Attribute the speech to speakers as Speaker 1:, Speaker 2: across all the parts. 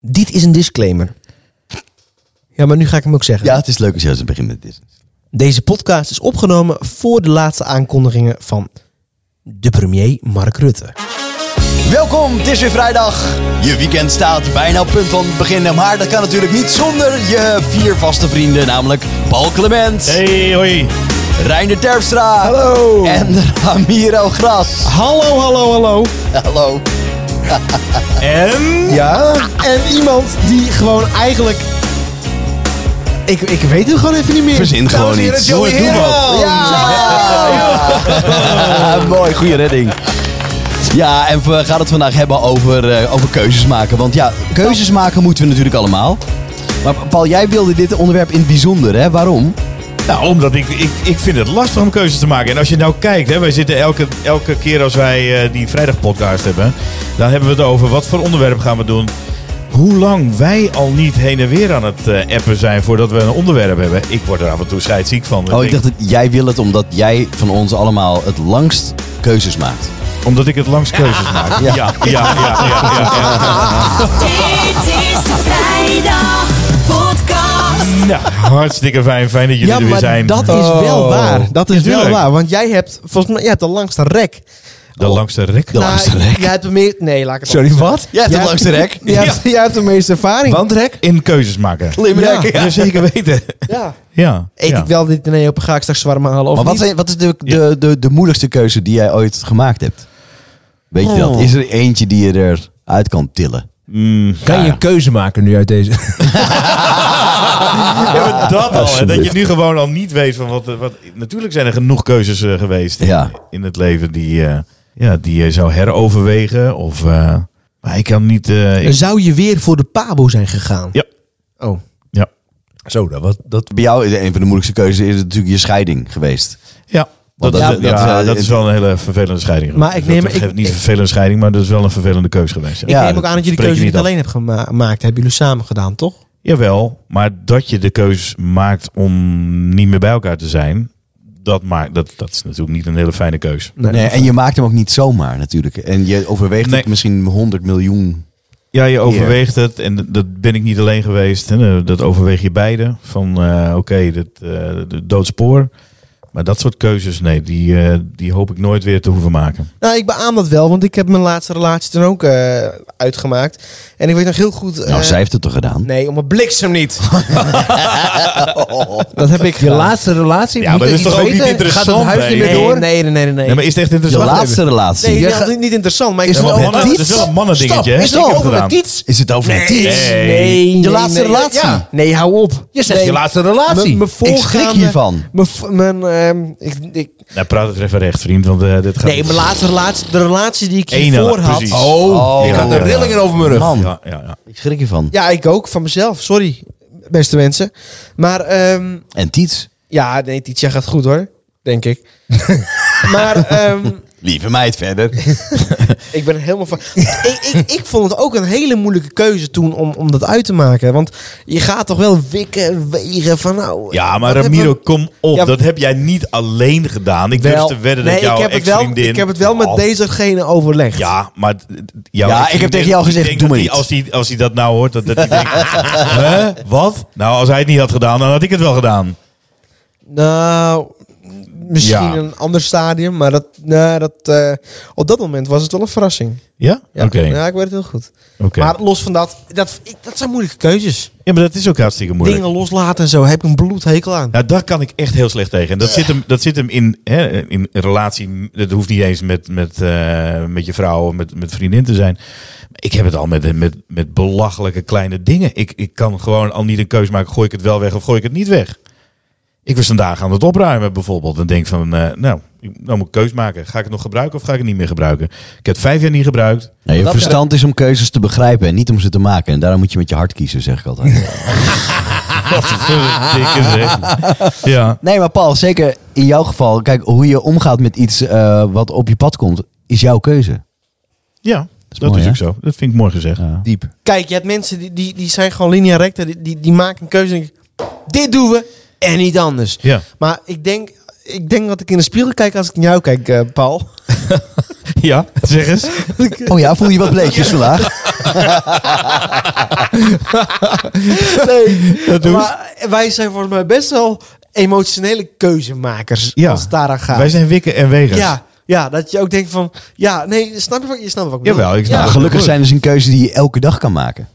Speaker 1: Dit is een disclaimer. Ja, maar nu ga ik hem ook zeggen.
Speaker 2: Ja, het is leuk als je aan het begin met dit.
Speaker 1: Deze podcast is opgenomen voor de laatste aankondigingen van de premier Mark Rutte.
Speaker 2: Welkom, het is weer vrijdag. Je weekend staat bijna op punt van beginnen, maar dat kan natuurlijk niet zonder je vier vaste vrienden, namelijk Paul Clement,
Speaker 3: Hey, hoi.
Speaker 2: Reiner Terpstra
Speaker 3: Hallo.
Speaker 2: en Ramiro Gras.
Speaker 3: Hallo, hallo, hallo.
Speaker 2: Hallo.
Speaker 3: En?
Speaker 1: Ja?
Speaker 3: En iemand die gewoon eigenlijk... Ik, ik weet het gewoon even niet meer.
Speaker 2: Verzin gewoon iets.
Speaker 3: Joey
Speaker 2: Doe
Speaker 3: Heerman.
Speaker 2: wat. Ja. Mooi, goede redding. Ja, en we gaan het vandaag hebben over, eh, over keuzes maken. Want ja, keuzes maken moeten we natuurlijk allemaal. Maar Paul, jij wilde dit onderwerp in het bijzonder, hè? Waarom?
Speaker 3: Nou, omdat ik, ik, ik vind het lastig om keuzes te maken. En als je nou kijkt, hè, wij zitten elke, elke keer als wij eh, die vrijdagpodcast hebben... dan hebben we het over wat voor onderwerp gaan we doen. Hoe lang wij al niet heen en weer aan het eh, appen zijn voordat we een onderwerp hebben. Ik word er af en toe scheidsziek van.
Speaker 2: Oh, ik dacht dat jij wil het omdat jij van ons allemaal het langst keuzes maakt.
Speaker 3: Omdat ik het langs keuzes maak. Ja, ja, ja, ja, ja, ja.
Speaker 4: Dit is de vrijdag podcast.
Speaker 3: Nou, hartstikke fijn. Fijn dat jullie
Speaker 1: Ja,
Speaker 3: er weer
Speaker 1: maar
Speaker 3: zijn.
Speaker 1: dat is wel
Speaker 3: Oh.
Speaker 1: waar. Dat is wel
Speaker 3: Natuurlijk.
Speaker 1: waar. Want jij hebt, volgens mij, jij hebt de langste rek.
Speaker 3: De langste rek.
Speaker 2: De langste
Speaker 1: Nou,
Speaker 2: rek.
Speaker 1: Jij hebt de meer... Nee, laat ik het
Speaker 2: Sorry,
Speaker 1: anders
Speaker 2: wat? Jij hebt de langste rek.
Speaker 1: zeggen. Jij hebt, jij hebt de meeste ervaring.
Speaker 2: Bandrek?
Speaker 3: In keuzes maken.
Speaker 2: Limrek.
Speaker 3: Ja, zeker weten.
Speaker 1: Ja.
Speaker 3: Ja.
Speaker 1: Eet
Speaker 3: ja.
Speaker 1: ik wel dit nee op, ga ik straks zwarm halen of
Speaker 2: Maar wat,
Speaker 1: niet?
Speaker 2: zijn, wat is de, de, de, de moeilijkste keuze die jij ooit gemaakt hebt? Weet je dat?
Speaker 1: Oh.
Speaker 2: Is er eentje die je eruit kan tillen?
Speaker 3: Mm,
Speaker 5: Kan je een keuze maken nu uit deze?
Speaker 3: ja, maar Ah, dat al. Hè, dat je nu gewoon al niet weet van wat, wat... Natuurlijk zijn er genoeg keuzes eh, geweest in,
Speaker 2: Ja.
Speaker 3: in het leven die, eh, ja, die je zou heroverwegen. Of, eh, maar ik kan niet... eh, ik-
Speaker 1: Zou je weer voor de pabo zijn gegaan?
Speaker 3: Ja.
Speaker 1: Oh.
Speaker 3: ja.
Speaker 5: Zo, dat was dat.
Speaker 2: Bij jou is een van de moeilijkste keuzes is natuurlijk je scheiding geweest.
Speaker 3: Ja.
Speaker 2: Want
Speaker 3: Dat,
Speaker 2: dat-
Speaker 3: ja,
Speaker 2: dat-
Speaker 3: dat, ja,
Speaker 2: dat-
Speaker 3: dat is wel een hele vervelende scheiding.
Speaker 1: Maar
Speaker 3: geweest.
Speaker 1: ik neem-
Speaker 3: Dat
Speaker 1: ik-
Speaker 3: geeft niet
Speaker 1: ik-
Speaker 3: een vervelende scheiding, maar dat is wel een vervelende keuze geweest. ja.
Speaker 1: Ik neem ook aan dat jullie
Speaker 3: spreek je
Speaker 1: keuze niet
Speaker 3: niet af.
Speaker 1: alleen hebt gema- gemaakt. Hebben jullie samen gedaan, toch?
Speaker 3: Jawel, maar dat je de keus maakt om niet meer bij elkaar te zijn, dat, maakt, dat, dat is natuurlijk niet een hele fijne keus.
Speaker 2: Nee, en je maakt hem ook niet zomaar natuurlijk. En je overweegt
Speaker 3: Nee.
Speaker 2: het misschien 100 miljoen.
Speaker 3: Ja, je overweegt het en dat ben ik niet alleen geweest. Hè. Eh, Dat overweeg je beide. Van eh, oké, dit, eh, de doodspoor. Maar dat soort keuzes, nee, die, eh, die hoop ik nooit weer te hoeven maken.
Speaker 1: Nou, ik beaam dat wel, want ik heb mijn laatste relatie toen ook eh, uitgemaakt. En ik weet nog heel goed...
Speaker 2: Nou,
Speaker 1: eh,
Speaker 2: zij heeft het toch gedaan?
Speaker 1: Nee, om mijn bliksem niet. dat heb ik
Speaker 5: Je
Speaker 1: gedaan.
Speaker 5: laatste relatie?
Speaker 3: Ja,
Speaker 5: Moet
Speaker 3: maar
Speaker 5: er
Speaker 3: dat is
Speaker 5: iets
Speaker 3: toch ook
Speaker 5: weten?
Speaker 3: niet interessant,
Speaker 5: Gaat het huis
Speaker 3: hè?
Speaker 5: niet meer
Speaker 1: Nee,
Speaker 5: door?
Speaker 1: nee, nee, nee, nee.
Speaker 3: Nee, maar is het echt
Speaker 2: Je
Speaker 3: interessant?
Speaker 2: laatste relatie.
Speaker 1: Nee,
Speaker 5: Je
Speaker 1: ja,
Speaker 5: gaat-
Speaker 1: dat is niet interessant. Maar ik
Speaker 3: Ja,
Speaker 1: heb
Speaker 3: maar
Speaker 1: wel
Speaker 3: mannen- dat is wel een mannendingetje, hè?
Speaker 1: Is het over
Speaker 3: Gedaan.
Speaker 1: met iets?
Speaker 2: Is het over het iets?
Speaker 3: Nee.
Speaker 1: nee,
Speaker 2: laatste
Speaker 1: nee.
Speaker 2: relatie?
Speaker 1: Ja. Nee, hou op.
Speaker 5: Je zegt
Speaker 1: Nee.
Speaker 5: je laatste relatie.
Speaker 1: M- mijn
Speaker 2: Ik schrik
Speaker 1: voorgaande-
Speaker 2: hiervan.
Speaker 1: Mijn, v- mijn, ehm, ik, ik,
Speaker 3: Nou, praat het even recht, vriend, want eh, dit gaat...
Speaker 1: nee, mijn laatste relatie, de relatie die ik
Speaker 3: Ene,
Speaker 1: hiervoor had.
Speaker 3: precies.
Speaker 5: oh,
Speaker 2: Oh,
Speaker 5: ik had
Speaker 3: ja.
Speaker 5: er rillingen over mijn rug.
Speaker 2: Man,
Speaker 3: Ja, ja, ja.
Speaker 2: ik schrik hiervan.
Speaker 1: Ja, ik ook, van mezelf. Sorry, beste mensen. Maar, ehm,
Speaker 2: En Tiets?
Speaker 1: ja, nee, Titia gaat goed hoor. Denk ik. maar, ehm,
Speaker 2: Lieve meid verder.
Speaker 1: ik ben er helemaal van... ik, ik, ik vond het ook een hele moeilijke keuze toen om, om dat uit te maken. Want je gaat toch wel wikken, wegen van nou...
Speaker 3: Ja, maar
Speaker 1: wat hebben we-
Speaker 3: Ramiro, kom op.
Speaker 1: Ja,
Speaker 3: dat heb jij niet alleen gedaan. Ik durf
Speaker 1: Wel.
Speaker 3: te wedden
Speaker 1: nee,
Speaker 3: dat jouw
Speaker 1: ik heb, het wel,
Speaker 3: ex-vriendin-
Speaker 1: ik heb het wel met
Speaker 3: Oh,
Speaker 1: dezegene overlegd.
Speaker 3: Ja, maar... d- d- jouw
Speaker 2: Ja, ik heb
Speaker 3: ex-vriendin,
Speaker 2: tegen jou gezegd,
Speaker 3: denk
Speaker 2: doe
Speaker 3: dat
Speaker 2: maar
Speaker 3: die-
Speaker 2: niet.
Speaker 3: Als hij als die dat nou hoort, dat, dat die denkt... Hè? Wat? Nou, als hij het niet had gedaan, dan had ik het wel gedaan.
Speaker 1: Nou, misschien
Speaker 3: Ja.
Speaker 1: een ander stadium, maar dat, nou, dat, eh, op dat moment was het wel een verrassing.
Speaker 3: Ja?
Speaker 1: Ja,
Speaker 3: Oké.
Speaker 1: ja ik weet het heel goed.
Speaker 3: oké.
Speaker 1: Maar los van dat, dat, ik- dat zijn moeilijke keuzes.
Speaker 3: Ja, maar dat is ook hartstikke moeilijk.
Speaker 1: Dingen loslaten en zo, heb ik een bloedhekel aan.
Speaker 3: Nou, daar kan ik echt heel slecht tegen. En dat zit hem, dat zit hem in, hè, in een relatie. Dat hoeft niet eens met, met, eh, met je vrouw of met, met vriendin te zijn. Ik heb het al met, met, met belachelijke kleine dingen. Ik, ik kan gewoon al niet een keuze maken. Gooi ik het wel weg of gooi ik het niet weg? Ik was vandaag aan het opruimen bijvoorbeeld. En denk van, eh, nou, ik- nou moet ik keus maken. Ga ik het nog gebruiken of ga ik het niet meer gebruiken? Ik heb het vijf jaar niet gebruikt.
Speaker 2: Nee, je
Speaker 1: Dat-
Speaker 2: verstand is om keuzes te begrijpen en niet om ze te maken. En daarom moet je met je hart kiezen, zeg ik altijd.
Speaker 3: Dikke zeg. Ja.
Speaker 2: Nee, maar Paul, zeker in jouw geval. Kijk, hoe je omgaat met iets eh, wat op je pad komt, is jouw keuze.
Speaker 3: ja, dat,
Speaker 2: mooi,
Speaker 3: is
Speaker 2: hè?
Speaker 3: ook zo. Dat vind ik mooi gezegd.
Speaker 2: Diep.
Speaker 1: Kijk, je hebt mensen die, die, die zijn gewoon linea recta, die, die, die maken een keuze en denken, dit doen we en niet anders.
Speaker 3: Ja.
Speaker 1: Maar ik denk, ik denk dat ik in de spiegel kijk als ik naar jou kijk, eh, Paul.
Speaker 3: Ja, zeg eens.
Speaker 2: Oh ja, voel je wat bleekjes vandaag?
Speaker 1: Nee,
Speaker 3: Dat doen ze.
Speaker 1: maar wij zijn volgens mij best wel emotionele keuzemakers
Speaker 3: Ja.
Speaker 1: als het daaraan gaat.
Speaker 3: Wij zijn wikken en wegers.
Speaker 1: ja, ja, dat je ook denkt van, ja, nee, snap je wat, je snapt wat ik bedoel?
Speaker 3: Jawel, ik snap
Speaker 1: Ja.
Speaker 3: het.
Speaker 2: Gelukkig zijn ze een keuze die je elke dag kan maken.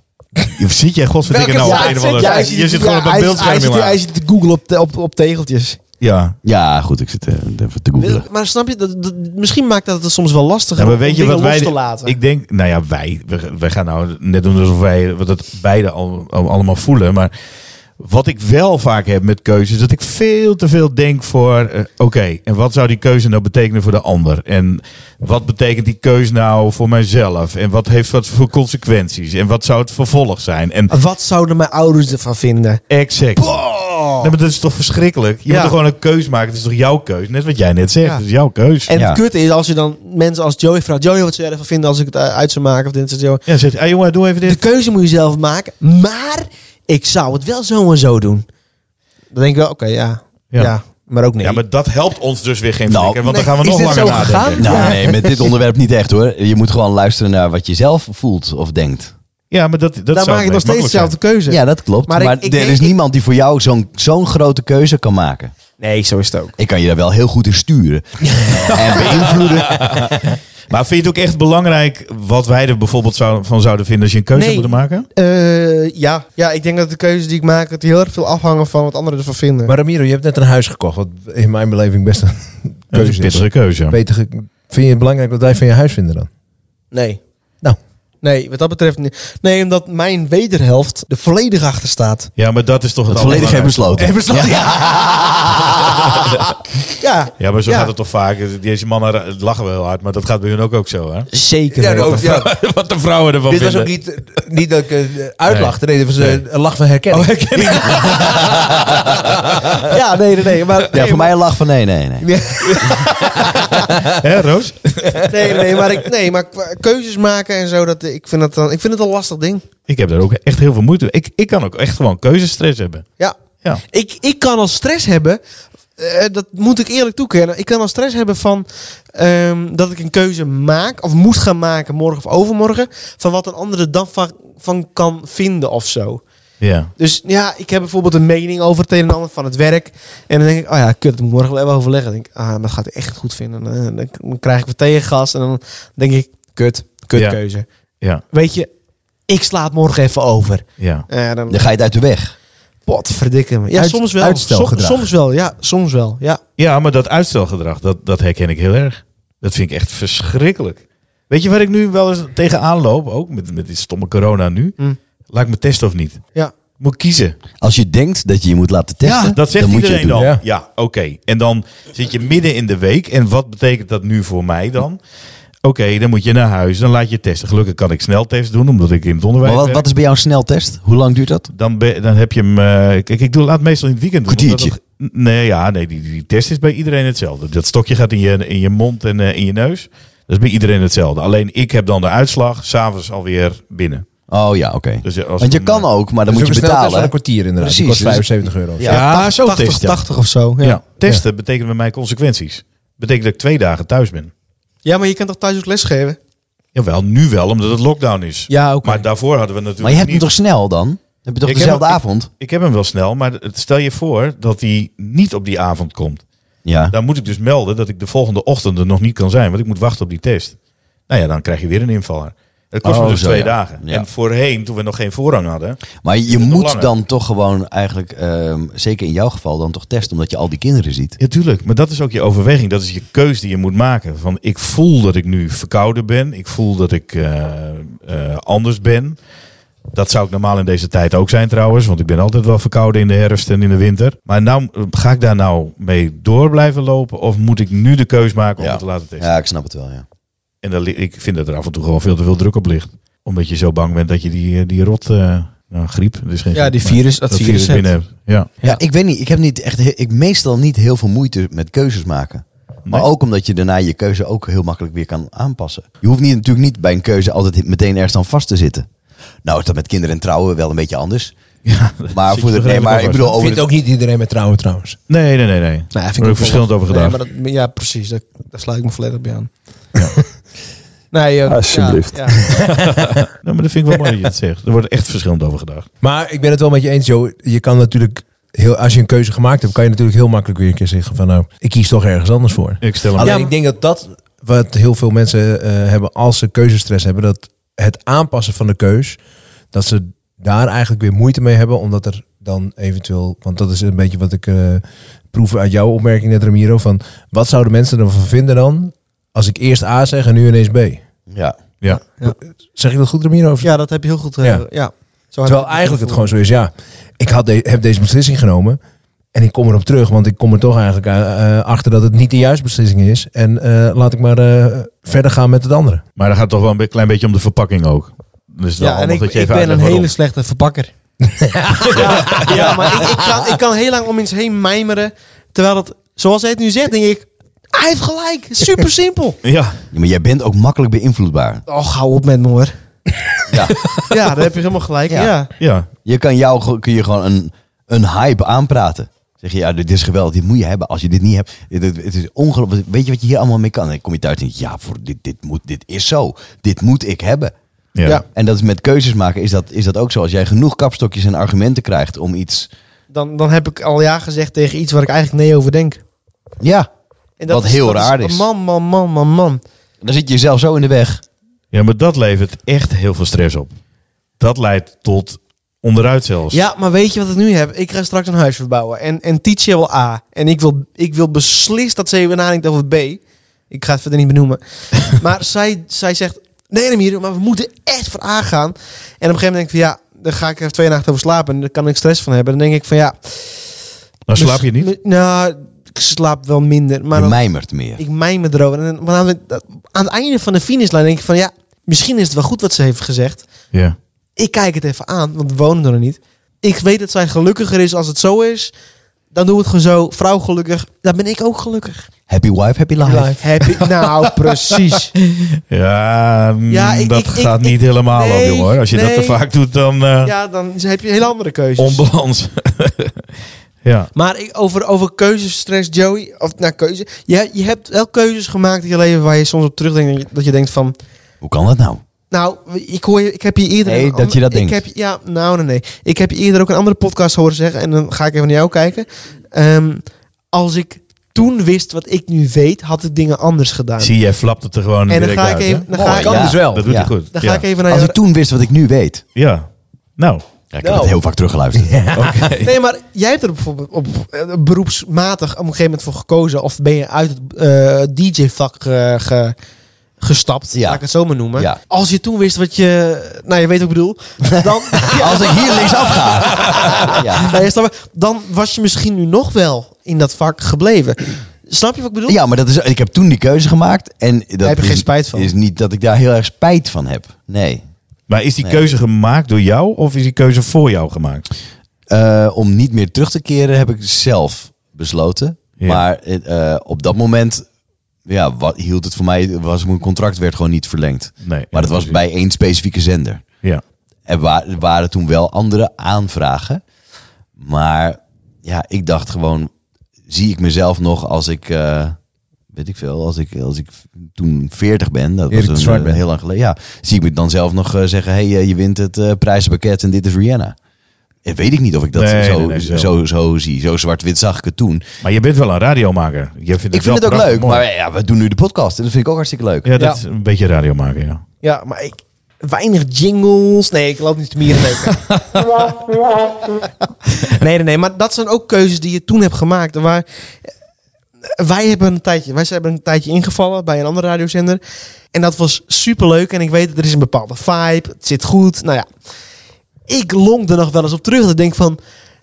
Speaker 3: Zit jij godverdikke
Speaker 1: Welke
Speaker 3: nou op
Speaker 1: zaak
Speaker 3: een of
Speaker 1: zit
Speaker 3: andere...
Speaker 1: jij?
Speaker 3: Je zit gewoon op een beeldscherm in
Speaker 1: Hij
Speaker 3: maar.
Speaker 1: zit te googlen op, te- op, op tegeltjes.
Speaker 3: Ja.
Speaker 2: Ja, goed, ik zit eh, even te
Speaker 1: Wil-
Speaker 2: googelen.
Speaker 1: Maar snap je, dat, dat- misschien maakt dat het soms wel lastig
Speaker 3: Ja, maar weet je wat wij...
Speaker 1: los te laten.
Speaker 3: Ik denk, nou ja, wij, we- wij gaan nou net doen alsof wij wat het beide al, al- allemaal voelen. Maar wat ik wel vaak heb met keuzes, dat ik veel te veel denk voor, eh, oké, en wat zou die keuze nou betekenen voor de ander? En wat betekent die keuze nou voor mijzelf? En wat heeft dat voor consequenties? En wat zou het vervolg zijn? En
Speaker 1: Wat zouden mijn ouders ervan vinden?
Speaker 3: exact. Nee, maar dat is toch verschrikkelijk? Je
Speaker 1: Ja.
Speaker 3: moet toch gewoon een keus maken? Het is toch jouw keus? Net wat jij net zegt,
Speaker 1: Ja.
Speaker 3: het is jouw keus.
Speaker 1: En
Speaker 2: Ja.
Speaker 1: het kutte is als je dan mensen als Joey vraagt... Joey, wat zou jij ervan vinden als ik het eh, uit zou maken? Of dit, en zo.
Speaker 3: Ja, zegt, hey, jongen, doe even
Speaker 1: De
Speaker 3: dit.
Speaker 1: keuze moet je zelf maken. Maar ik zou het wel zo en zo doen. Dan denk ik wel, oké, ja, ja.
Speaker 3: Ja.
Speaker 1: Maar ook nee.
Speaker 3: Ja, maar dat helpt ons dus weer geen
Speaker 2: Nou,
Speaker 3: flikker, want
Speaker 1: nee,
Speaker 3: dan gaan we
Speaker 1: is
Speaker 3: nog
Speaker 1: dit
Speaker 3: langer
Speaker 1: zo gegaan?
Speaker 3: nadenken.
Speaker 2: Nou, nee, met dit onderwerp niet echt hoor. Je moet gewoon luisteren naar wat je zelf voelt of denkt.
Speaker 3: Ja, maar dat, dat
Speaker 1: dan
Speaker 3: zou
Speaker 1: maak ik nog steeds dezelfde keuze.
Speaker 2: Ja, dat klopt.
Speaker 1: Maar
Speaker 2: Maar,
Speaker 1: ik- ik-
Speaker 2: er
Speaker 1: ik-
Speaker 2: is niemand die voor jou zo'n zo'n grote keuze kan maken.
Speaker 1: Nee, zo is het ook.
Speaker 2: Ik kan je daar wel heel goed in sturen. en beïnvloeden.
Speaker 3: Maar vind je het ook echt belangrijk wat wij er bijvoorbeeld zou, van zouden vinden als je een keuze
Speaker 1: Nee.
Speaker 3: moet maken?
Speaker 1: Eh, ja. ja, ik denk dat de keuzes die ik maak... dat die heel erg veel afhangen van wat anderen ervan vinden.
Speaker 5: Maar Ramiro, je hebt net een huis gekocht. Wat in mijn beleving best een
Speaker 3: Dat is een
Speaker 5: keuze is.
Speaker 3: pittige keuze.
Speaker 5: Beter ge- Vind je het belangrijk wat wij van je huis vinden dan?
Speaker 1: nee.
Speaker 5: Nou.
Speaker 1: Nee, wat dat betreft niet. Nee, omdat mijn wederhelft er volledig achter staat.
Speaker 3: Ja, maar dat is toch het
Speaker 2: Dat volledig heeft
Speaker 3: allerbelangrijkste.
Speaker 2: besloten.
Speaker 1: Ja,
Speaker 3: Ja, maar zo
Speaker 1: Ja.
Speaker 3: gaat het toch vaak. Deze mannen ra- lachen wel heel hard, maar dat gaat bij hun ook, ook zo, hè?
Speaker 1: zeker.
Speaker 5: Ja,
Speaker 1: weten.
Speaker 5: dat- ja,
Speaker 3: wat de vrouwen ervan
Speaker 5: dit was
Speaker 3: vinden.
Speaker 5: ook niet, eh, niet dat ik eh, uitlachte. Nee, dit was eh,
Speaker 3: Nee.
Speaker 5: een lach van herkenning.
Speaker 1: Oh, ja, nee, nee, nee. Maar,
Speaker 2: Ja, voor mij een lach van nee, nee, nee.
Speaker 3: Hè, Roos?
Speaker 1: nee, nee, maar, ik, nee, maar qua keuzes maken en zo, dat, ik, vind dat dan, ik vind het een lastig ding.
Speaker 3: Ik heb daar ook echt heel veel moeite mee. Ik, ik kan ook echt gewoon keuzestress hebben.
Speaker 1: Ja.
Speaker 3: Ja.
Speaker 1: Ik, ik kan al stress hebben, eh, dat moet ik eerlijk toekennen. Ik kan al stress hebben van ehm, dat ik een keuze maak, of moet gaan maken morgen of overmorgen, van wat een ander er dan van, van kan vinden of zo.
Speaker 3: Ja.
Speaker 1: Dus ja, ik heb bijvoorbeeld een mening over het een en ander van het werk. En dan denk ik, oh ja, kut, dat moet ik morgen wel even overleggen. Dan denk ik, ah, maar dat gaat hij echt goed vinden. En, eh, dan- dan krijg ik weer tegengas en dan denk ik, kut,
Speaker 3: Ja.
Speaker 1: kutkeuze.
Speaker 3: Ja.
Speaker 1: Weet je, ik sla het morgen even over.
Speaker 3: Ja.
Speaker 1: Eh dan,
Speaker 2: Dan ga je het uit de weg.
Speaker 1: Pot, verdikken me. Ja,
Speaker 5: Uit-
Speaker 1: soms wel. Som,
Speaker 5: uitstelgedrag.
Speaker 1: soms wel, ja. Soms wel, ja.
Speaker 3: Ja, maar dat uitstelgedrag, dat, dat herken ik heel erg. Dat vind ik echt verschrikkelijk. Weet je waar ik nu wel eens tegenaan loop, ook met, met die stomme corona nu?
Speaker 1: Mm.
Speaker 3: Laat ik me testen of niet?
Speaker 1: ja.
Speaker 3: Moet ik kiezen.
Speaker 2: Als je denkt dat je je moet laten testen,
Speaker 3: dat zegt
Speaker 2: dan moet je
Speaker 3: iedereen
Speaker 2: het doen.
Speaker 3: dan. Ja,
Speaker 5: Ja.
Speaker 3: oké. En dan zit je midden in de week. En wat betekent dat nu voor mij dan? Oké, dan moet je naar huis. Dan laat je testen. Gelukkig kan ik sneltest doen, omdat ik in het onderwijs
Speaker 2: Maar wat,
Speaker 3: werk.
Speaker 2: wat is bij jou een sneltest? Hoe lang duurt dat?
Speaker 3: dan, be- dan heb je hem. eh, kijk, ik doe laat meestal in het weekend. doen,
Speaker 2: Kwartiertje.
Speaker 3: omdat het- nee, ja, nee die, die test is bij iedereen hetzelfde. Dat stokje gaat in je, in je mond en eh, in je neus. Dat is bij iedereen hetzelfde. Alleen ik heb dan de uitslag s'avonds alweer binnen.
Speaker 2: Oh ja, oké.
Speaker 3: Dus als
Speaker 2: Want je
Speaker 3: een,
Speaker 2: kan
Speaker 3: eh,
Speaker 2: ook, maar dan
Speaker 5: Dus
Speaker 2: moet
Speaker 5: ook
Speaker 2: je
Speaker 5: een
Speaker 2: betalen.
Speaker 5: sneltest van een kwartier inderdaad.
Speaker 2: Precies,
Speaker 5: Die kost
Speaker 2: dus-
Speaker 5: 75 euro.
Speaker 3: Ja, zo
Speaker 1: 80,
Speaker 3: test, ja.
Speaker 1: 80 of zo. Ja.
Speaker 3: Ja.
Speaker 1: ja.
Speaker 3: Testen betekent bij mij consequenties. Betekent dat ik twee dagen thuis ben.
Speaker 1: maar je kan toch thuis ook lesgeven? Nou,
Speaker 3: Jawel, nu wel, omdat het lockdown is.
Speaker 1: Ja, oké.
Speaker 3: Maar daarvoor hadden we natuurlijk
Speaker 2: Maar je hebt hem
Speaker 3: niet...
Speaker 2: toch snel dan? Heb je toch
Speaker 3: Ik heb
Speaker 2: dezelfde
Speaker 3: hem-
Speaker 2: avond?
Speaker 3: Ik heb hem wel snel, maar het- stel je voor dat hij niet op die avond komt.
Speaker 2: Ja.
Speaker 3: Dan moet ik dus melden dat ik de volgende ochtend er nog niet kan zijn, want ik moet wachten op die test. Nou ja, dan krijg je weer een invaller. Dat kost
Speaker 2: Oh,
Speaker 3: me dus
Speaker 2: zo,
Speaker 3: twee
Speaker 2: ja.
Speaker 3: dagen.
Speaker 2: Ja.
Speaker 3: En voorheen, toen we nog geen voorrang hadden.
Speaker 2: Maar je
Speaker 3: nog
Speaker 2: moet
Speaker 3: langer.
Speaker 2: dan toch gewoon eigenlijk, ehm, zeker in jouw geval, dan toch testen. Omdat je al die kinderen ziet.
Speaker 3: Ja, tuurlijk. Maar dat is ook je overweging. Dat is je keus die je moet maken. Van ik voel dat ik nu verkouden ben. Ik voel dat ik eh, eh, anders ben. Dat zou ik normaal in deze tijd ook zijn trouwens. Want ik ben altijd wel verkouden in de herfst en in de winter. Maar nou, eh, ga ik daar nou mee door blijven lopen? Of moet ik nu de keus maken om
Speaker 2: Ja.
Speaker 3: het te laten testen?
Speaker 2: Ja, ik snap het wel, ja.
Speaker 3: En dan, li- ik vind dat er af en toe gewoon veel te veel druk op ligt. Omdat je zo bang bent dat je die, eh, die rot... eh, nou, griep. Dus geen griep, maar
Speaker 1: dat,
Speaker 3: binnen hebt. Ja.
Speaker 2: Ja, ik weet niet. Ik heb niet echt, he- ik meestal niet heel veel moeite met keuzes maken. Maar
Speaker 3: Nee.
Speaker 2: ook omdat je daarna je keuze ook heel makkelijk weer kan aanpassen. Je hoeft niet, natuurlijk niet bij een keuze altijd meteen ergens aan vast te zitten. Nou is dat met kinderen en trouwen wel een beetje anders. maar voor
Speaker 3: zit je
Speaker 2: de,
Speaker 3: toch
Speaker 2: nee,
Speaker 3: helemaal
Speaker 2: maar ik
Speaker 3: vast.
Speaker 2: bedoel over
Speaker 5: Vindt
Speaker 2: het-
Speaker 5: ook niet iedereen met trouwen trouwens.
Speaker 3: Nee, nee, nee. nee.
Speaker 1: Nou,
Speaker 3: Daar heb ik verschillend over gedaan.
Speaker 1: ja, precies. Daar, daar sluit ik me volledig bij aan. Nee, joh.
Speaker 6: Alsjeblieft.
Speaker 1: Ja, ja.
Speaker 3: Nou, maar dat vind ik wel mooi dat je het zegt. Er wordt echt verschillend over gedacht.
Speaker 5: Maar ik ben het wel met je eens, Jo. Je kan natuurlijk, heel, als je een keuze gemaakt hebt, kan je natuurlijk heel makkelijk weer een keer zeggen van nou, ik kies toch ergens anders voor.
Speaker 3: Ik stel hem
Speaker 5: Alleen
Speaker 1: Ja, maar-
Speaker 5: ik denk dat dat wat heel veel mensen eh, hebben als ze keuzestress hebben, dat het aanpassen van de keus, dat ze daar eigenlijk weer moeite mee hebben, omdat er dan eventueel, want dat is een beetje wat ik eh, proef uit jouw opmerking net Ramiro, van wat zouden mensen ervan vinden dan als ik eerst A zeg en nu ineens B?
Speaker 2: Ja.
Speaker 3: Ja.
Speaker 5: Zeg ik dat goed Ramiro? Of
Speaker 1: ja, dat heb je heel goed. eh,
Speaker 5: Ja.
Speaker 1: ja. Zo heb
Speaker 5: Terwijl
Speaker 1: ik
Speaker 5: eigenlijk het
Speaker 1: gevoel.
Speaker 5: gewoon zo is, ja, ik had de- heb deze beslissing genomen en ik kom erop terug, want ik kom er toch eigenlijk eh, eh, achter dat het niet de juiste beslissing is. En eh, laat ik maar eh, verder gaan met het andere.
Speaker 3: Maar dan gaat het toch wel een be- klein beetje om de verpakking ook. Dus wel
Speaker 1: Ja, en
Speaker 3: handig
Speaker 1: ik,
Speaker 3: dat je
Speaker 1: ik
Speaker 3: even
Speaker 1: ben een
Speaker 3: uitlegt
Speaker 1: hele slechte verpakker. ja, ja, maar ik, ik, kan, ik kan heel lang om iets heen mijmeren. Terwijl het, zoals hij het nu zegt, denk ik... Hij heeft gelijk. Super simpel.
Speaker 3: waarom. Ja,
Speaker 2: Ja, Maar jij bent ook makkelijk beïnvloedbaar.
Speaker 1: Och, hou Oh, op met me hoor.
Speaker 2: Ja.
Speaker 1: Ja, daar heb je helemaal gelijk.
Speaker 2: Ja.
Speaker 1: Ja.
Speaker 3: ja.
Speaker 2: Je kan jou ge- kun je gewoon een, een hype aanpraten. Zeg je, ja, dit is geweldig, dit moet je hebben. Als je dit niet hebt, dit- dit- het is ongelooflijk. Weet je wat je hier allemaal mee kan? En dan kom je thuis en denk je, ja, voor dit, dit, moet, dit is zo. Dit moet ik hebben.
Speaker 3: ja.
Speaker 1: Ja.
Speaker 2: En dat is met keuzes maken, is dat, is dat ook zo. Als jij genoeg kapstokjes en argumenten krijgt om iets...
Speaker 1: Dan, dan heb ik al ja gezegd tegen iets waar ik eigenlijk nee over denk.
Speaker 2: Ja,
Speaker 1: En
Speaker 2: Wat heel raar is.
Speaker 1: Man, man, man, man, man.
Speaker 2: dan zit je jezelf zo in de weg.
Speaker 3: Ja, maar dat levert echt heel veel stress op. Dat leidt tot onderuit zelfs.
Speaker 1: Ja, maar weet je wat ik nu heb? Ik ga straks een huis verbouwen. En, en Tietje wil A. En ik wil, ik wil beslist dat ze even nadenkt over B. Ik ga het verder niet benoemen. maar zij, zij zegt, nee Remier, maar we moeten echt voor A gaan. En op een gegeven moment denk ik van, ja, daar ga ik even twee nachten over slapen. En daar kan ik stress van hebben. Dan denk ik van, ja...
Speaker 3: Dan slaap je niet.
Speaker 1: mis- Nou, ik slaap wel minder. Maar
Speaker 2: je
Speaker 1: dan-
Speaker 2: mijmert meer.
Speaker 1: ik mijmer erover. En dan- maar aan, het, aan het einde van de finishlijn denk ik van, ja, misschien is het wel goed wat ze heeft gezegd.
Speaker 3: Ja.
Speaker 1: Ik kijk het even aan, want we wonen er nog niet. Ik weet dat zij gelukkiger is als het zo is. Dan doen we het gewoon zo. Vrouw gelukkig, dan ben ik ook gelukkig.
Speaker 2: Happy wife, happy life.
Speaker 1: Happy. Nou, precies.
Speaker 3: Ja, mm,
Speaker 1: Ja, ik-
Speaker 3: dat
Speaker 1: ik- ik-
Speaker 3: gaat
Speaker 1: ik-
Speaker 3: niet helemaal
Speaker 1: nee,
Speaker 3: op, jongen. hoor. Als je dat
Speaker 1: nee.
Speaker 3: te vaak doet, dan eh,
Speaker 1: Ja, dan heb je een hele andere keuzes.
Speaker 3: onbalans. ja.
Speaker 1: maar ik, over, over keuzestress, Joey. Of nou, keuze. Je, je hebt wel keuzes gemaakt in je leven waar je soms op terugdenkt. Dat je denkt van,
Speaker 2: Hoe kan dat nou?
Speaker 1: Nou, ik, hoor je, ik heb je eerder...
Speaker 2: Nee,
Speaker 1: een
Speaker 2: dat je dat
Speaker 1: ik
Speaker 2: denkt.
Speaker 1: Heb, ja, nou, nee, nee. Ik heb je eerder ook een andere podcast horen zeggen. En dan ga ik even naar jou kijken. Ehm, als ik toen wist wat ik nu weet, had ik dingen anders gedaan.
Speaker 3: Zie je, flapt het er gewoon
Speaker 1: en dan
Speaker 3: direct
Speaker 1: ga ik
Speaker 3: uit, hè?
Speaker 1: even... Dan ga,
Speaker 2: Mooi,
Speaker 1: ik,
Speaker 2: kan
Speaker 5: Kan
Speaker 2: Ja. dus
Speaker 5: dus wel.
Speaker 3: Dat doet
Speaker 2: Ja.
Speaker 3: hij goed.
Speaker 1: dan
Speaker 3: ja.
Speaker 1: ga ik even naar
Speaker 2: Als
Speaker 1: jou...
Speaker 2: ik toen wist wat ik nu weet.
Speaker 3: Ja. Nou,
Speaker 2: Ja, ik heb het heel vaak teruggeluisterd.
Speaker 1: Nee, maar jij hebt er bijvoorbeeld op, eh, beroepsmatig op een gegeven moment voor gekozen. Of ben je uit het eh, DJ-vak gestapt,
Speaker 2: Ja.
Speaker 1: laat ik het zo maar noemen.
Speaker 2: Ja.
Speaker 1: Als je toen wist wat je... Nou, je weet wat ik bedoel. Dan,
Speaker 2: Als ik hier linksaf ga. Ja.
Speaker 1: Nou, ja, snap je? dan was je misschien nu nog wel in dat vak gebleven. Snap je wat ik bedoel?
Speaker 2: Ja, maar dat is, ik heb toen die keuze gemaakt. En dat
Speaker 1: heb je
Speaker 2: is,
Speaker 1: geen spijt van.
Speaker 2: is niet dat ik daar heel erg spijt van heb. Nee.
Speaker 3: maar is die
Speaker 2: Nee.
Speaker 3: keuze gemaakt door jou of is die keuze voor jou gemaakt?
Speaker 2: Eh, om niet meer terug te keren heb ik zelf besloten.
Speaker 3: Ja.
Speaker 2: Maar eh, eh, op dat moment ja, wat, hield het voor mij. Was, mijn contract werd gewoon niet verlengd.
Speaker 3: Nee.
Speaker 2: Maar dat was bij één specifieke zender.
Speaker 3: Ja.
Speaker 2: Er wa- er waren toen wel andere aanvragen. Maar ja, ik dacht gewoon, zie ik mezelf nog als ik, eh, weet ik veel, als ik, als ik toen 40 ben, dat
Speaker 5: Erik de
Speaker 2: was
Speaker 5: Zwart
Speaker 2: een, eh,
Speaker 5: bent.
Speaker 2: heel lang geleden. Ja, zie ik me dan zelf nog eh, zeggen, hey, eh, je wint het eh, prijzenpakket en dit is Rihanna. En weet ik niet of ik dat
Speaker 3: Nee,
Speaker 2: zo,
Speaker 3: nee, nee,
Speaker 2: zo,
Speaker 3: zo.
Speaker 2: zo, zie. Zo zwart-wit zag ik het toen.
Speaker 3: Maar je bent wel een radiomaker. Je vindt het
Speaker 2: Ik
Speaker 3: wel
Speaker 2: vind het ook
Speaker 3: prachtig
Speaker 2: leuk,
Speaker 3: mooi.
Speaker 2: maar ja, we doen nu de podcast. En dat vind ik ook hartstikke leuk.
Speaker 3: Ja, dat
Speaker 1: Ja.
Speaker 3: is een beetje radiomaker, ja.
Speaker 1: Ja, maar ik... Weinig jingles. Nee, ik loop niet te mieren. Nee, nee, nee, nee. Maar dat zijn ook keuzes die je toen hebt gemaakt. Waar, eh, wij, hebben een tijdje, wij zijn- hebben een tijdje ingevallen bij een andere radiozender. En dat was superleuk. En ik weet, er is een bepaalde vibe. Het zit goed. Nou ja. Ik long er nog wel eens op terug. Dat ik denk van...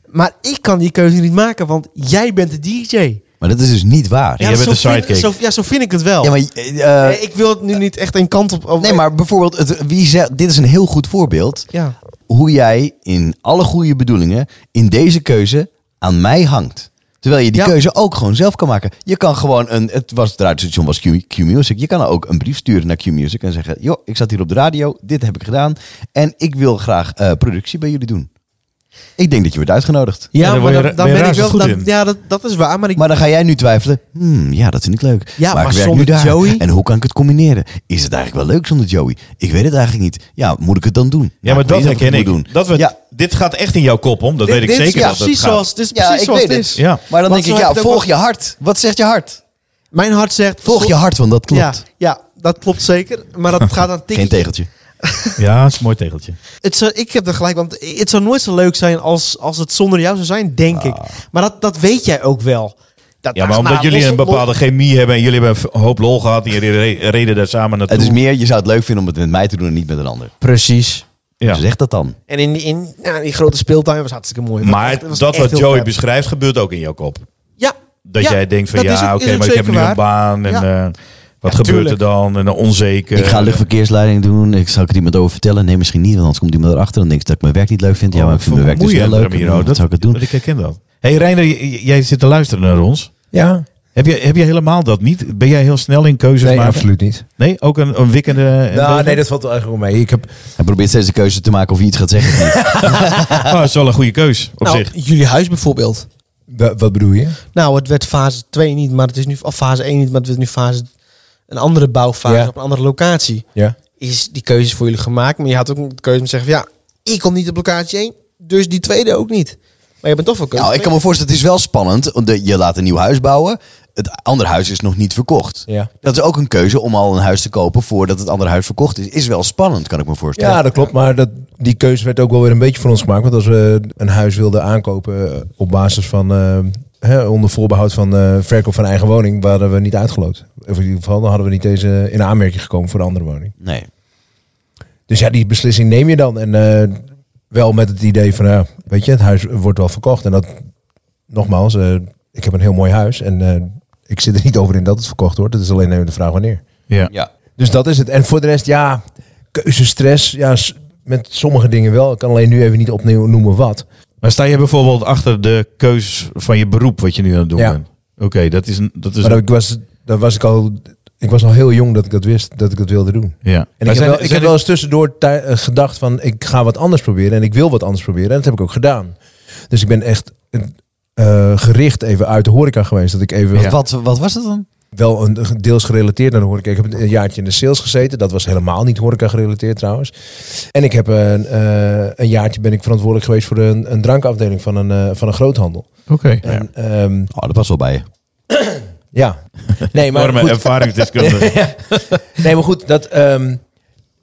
Speaker 1: Maar ik kan die keuze niet maken, want jij bent de DJ.
Speaker 2: Maar dat is dus niet waar.
Speaker 3: Ja. jij bent
Speaker 1: zo
Speaker 3: de
Speaker 1: vind-
Speaker 3: sidekick.
Speaker 1: zo- ja, zo vind ik het wel.
Speaker 2: Ja, maar, eh,
Speaker 1: Nee, ik wil het nu niet echt een kant op. op
Speaker 2: nee, maar bijvoorbeeld, het, wie zegt, dit is een heel goed voorbeeld.
Speaker 1: Ja.
Speaker 2: hoe jij in alle goede bedoelingen in deze keuze aan mij hangt. Terwijl je die
Speaker 1: Ja.
Speaker 2: keuze ook gewoon zelf kan maken. Je kan gewoon een. Het was het radiostation was Q, Q Music. Je kan ook een brief sturen naar Q Music en zeggen: joh, ik zat hier op de radio, dit heb ik gedaan. En ik wil graag eh, productie bij jullie doen. Ik denk dat je wordt uitgenodigd.
Speaker 3: Ja,
Speaker 1: Ja,
Speaker 3: dan
Speaker 1: maar
Speaker 3: word je
Speaker 1: dan,
Speaker 3: ra-
Speaker 1: dan
Speaker 3: ben je
Speaker 1: ben ik
Speaker 3: razend
Speaker 1: wel...
Speaker 3: goed
Speaker 1: dan-
Speaker 3: in.
Speaker 1: ja, dat, dat is waar, maar ik...
Speaker 2: Maar dan ga jij nu twijfelen. Hmm, ja, dat vind ik leuk.
Speaker 1: Ja, maar
Speaker 2: ik werk
Speaker 1: zonder
Speaker 2: nu daar.
Speaker 1: Joey?
Speaker 2: En hoe kan ik het combineren? Is het eigenlijk wel leuk zonder Joey? Ik weet het eigenlijk niet. Ja, moet ik het dan doen?
Speaker 3: Ja, maar
Speaker 2: ik weet
Speaker 3: dat
Speaker 2: niet of
Speaker 3: herken
Speaker 2: het
Speaker 3: ik.
Speaker 2: moet doen.
Speaker 3: Dat we,
Speaker 2: Ja.
Speaker 3: Dit gaat echt in jouw kop om. Dat
Speaker 1: dit-
Speaker 3: weet ik
Speaker 1: dit
Speaker 3: zeker
Speaker 1: is
Speaker 3: dat dat
Speaker 1: precies
Speaker 3: gaat.
Speaker 1: zoals, dit is
Speaker 2: Ja,
Speaker 1: precies
Speaker 2: ik
Speaker 1: zoals
Speaker 2: weet
Speaker 1: het
Speaker 2: het.
Speaker 1: is.
Speaker 3: Ja.
Speaker 2: Maar dan
Speaker 1: Want
Speaker 2: denk
Speaker 1: zo
Speaker 2: ik, ja,
Speaker 1: heb ik
Speaker 2: volg
Speaker 1: ook
Speaker 2: je hart. Wat zegt je hart?
Speaker 1: Mijn hart zegt...
Speaker 2: Volg je hart, want dat klopt.
Speaker 1: Ja, ja, dat klopt zeker. Maar dat gaat aan
Speaker 2: Geen
Speaker 1: tikken.
Speaker 2: tegeltje.
Speaker 3: Ja, dat is een mooi tegeltje.
Speaker 1: Het zou, ik heb er gelijk, want het zou nooit zo leuk zijn als, als het zonder jou zou zijn, denk ik. Maar dat, dat weet jij ook wel. Dat,
Speaker 3: Ah. Ja,
Speaker 1: dat-
Speaker 3: maar omdat
Speaker 1: nou,
Speaker 3: jullie
Speaker 1: los-
Speaker 3: een bepaalde chemie hebben en jullie hebben een hoop lol gehad en jullie re- reden daar samen naartoe.
Speaker 2: Het is meer, je zou het leuk vinden om het met mij te doen en niet met een ander. Dus
Speaker 5: Precies.
Speaker 3: Ja.
Speaker 2: Zeg dat dan.
Speaker 1: En in, die- in nou, die grote speeltuin was hartstikke mooi. Dat was echt-
Speaker 3: Maar
Speaker 1: was
Speaker 3: dat
Speaker 1: echt
Speaker 3: wat
Speaker 1: heel
Speaker 3: Joey
Speaker 1: vet.
Speaker 3: beschrijft gebeurt ook in jouw kop.
Speaker 1: Ja.
Speaker 3: Dat
Speaker 1: ja,
Speaker 3: jij denkt van
Speaker 1: dat is
Speaker 3: ja,
Speaker 1: ook-
Speaker 3: oké,
Speaker 1: is ook
Speaker 3: maar ik heb nu
Speaker 1: zeker
Speaker 3: een
Speaker 1: waar.
Speaker 3: baan en
Speaker 1: Ja.
Speaker 3: eh, wat gebeurt er
Speaker 1: tuurlijk.
Speaker 3: dan? En dan onzeker.
Speaker 2: Ik ga luchtverkeersleiding doen. Ik zal ik er iemand over vertellen. Nee, misschien niet, want anders komt iemand erachter en denkt dat ik mijn werk niet leuk vind. Ja, maar ik vind mijn werk dus wel
Speaker 3: Oh, Vermoeiend,
Speaker 2: leuk.
Speaker 3: Ramiro,
Speaker 2: en Dat zou ik het doen.
Speaker 3: Ik herken dat. hey, Reiner, j- j- jij zit te luisteren naar ons.
Speaker 5: Ja.
Speaker 3: Heb je, heb je helemaal dat niet? Ben jij heel snel in keuzes
Speaker 5: Nee,
Speaker 3: maken?
Speaker 5: absoluut niet.
Speaker 3: Nee, ook een, een wikkende...
Speaker 5: Nou, nee, dat valt wel eigenlijk wel mee. Ik heb,
Speaker 2: Hij probeert steeds de keuze te maken of hij iets gaat zeggen. of niet.
Speaker 3: Oh, dat is wel een goede keus op
Speaker 1: Nou,
Speaker 3: zich.
Speaker 1: jullie huis bijvoorbeeld.
Speaker 5: wa- wat bedoel je?
Speaker 1: Nou, het werd fase 2 niet, maar het is nu of fase 1 niet, maar het werd nu fase een andere bouwfase
Speaker 5: Ja.
Speaker 1: op een andere locatie.
Speaker 5: Ja.
Speaker 1: Is die keuzes voor jullie gemaakt, maar je had ook de keuze om te zeggen van, ja, ik kom niet op locatie 1, dus die tweede ook niet. Maar je bent toch wel keuze.
Speaker 2: Nou, ik kan me voorstellen, het is wel spannend. want de- Je laat een nieuw huis bouwen. Het andere huis is nog niet verkocht.
Speaker 5: Ja.
Speaker 2: Dat is ook een keuze om al een huis te kopen voordat het andere huis verkocht is. Is wel spannend, kan ik me voorstellen.
Speaker 5: Ja, dat klopt. Maar dat, die keuze werd ook wel weer een beetje voor ons gemaakt. Want als we een huis wilden aankopen eh, op basis van... eh, hè, onder voorbehoud van eh, verkoop van eigen woning... waren we niet uitgeloot. Of in ieder geval, dan hadden we niet deze in aanmerking gekomen voor de andere woning.
Speaker 2: Nee.
Speaker 5: Dus ja, die beslissing neem je dan. En eh, wel met het idee van, ja, weet je, het huis wordt wel verkocht. En dat, nogmaals, eh, ik heb een heel mooi huis. En eh, ik zit er niet over in dat het verkocht wordt. Het is alleen even de vraag wanneer.
Speaker 3: Ja.
Speaker 2: Ja.
Speaker 5: Dus dat is het. En voor de rest, ja, keuzestress. Ja, s- met sommige dingen wel. Ik kan alleen nu even niet opnieuw noemen wat.
Speaker 3: Maar sta je bijvoorbeeld achter de keus van je beroep wat je nu aan het doen
Speaker 5: Ja.
Speaker 3: bent? Oké, dat is een... Dus Dat is
Speaker 5: Maar
Speaker 3: een-
Speaker 5: dat was, dat was ik al... Ik was al heel jong dat ik dat wist, dat ik dat wilde doen.
Speaker 3: ja.
Speaker 5: En
Speaker 3: Maar
Speaker 5: ik heb,
Speaker 3: zijn-
Speaker 5: wel, ik
Speaker 3: zijn
Speaker 5: heb wel eens tussendoor tij- eh, gedacht van ik ga wat anders proberen en ik wil wat anders proberen. En dat heb ik ook gedaan. Dus ik ben echt eh, gericht even uit de horeca geweest. Dat ik even
Speaker 3: Ja.
Speaker 2: Wat, wat was dat dan?
Speaker 5: wel een, deels gerelateerd naar de horeca. Ik heb een jaartje in de sales gezeten. Dat was helemaal niet horeca gerelateerd trouwens. En ik heb een, eh, een jaartje ben ik verantwoordelijk geweest voor een, een drankafdeling van een, eh, van een groothandel.
Speaker 3: Oké. Ja.
Speaker 5: En, ehm,
Speaker 2: Oh, dat was wel bij je.
Speaker 5: ja. Nee, maar
Speaker 3: Enorme
Speaker 5: goed.
Speaker 3: ervaringsdeskundige.
Speaker 5: Nee, maar goed, dat, ehm,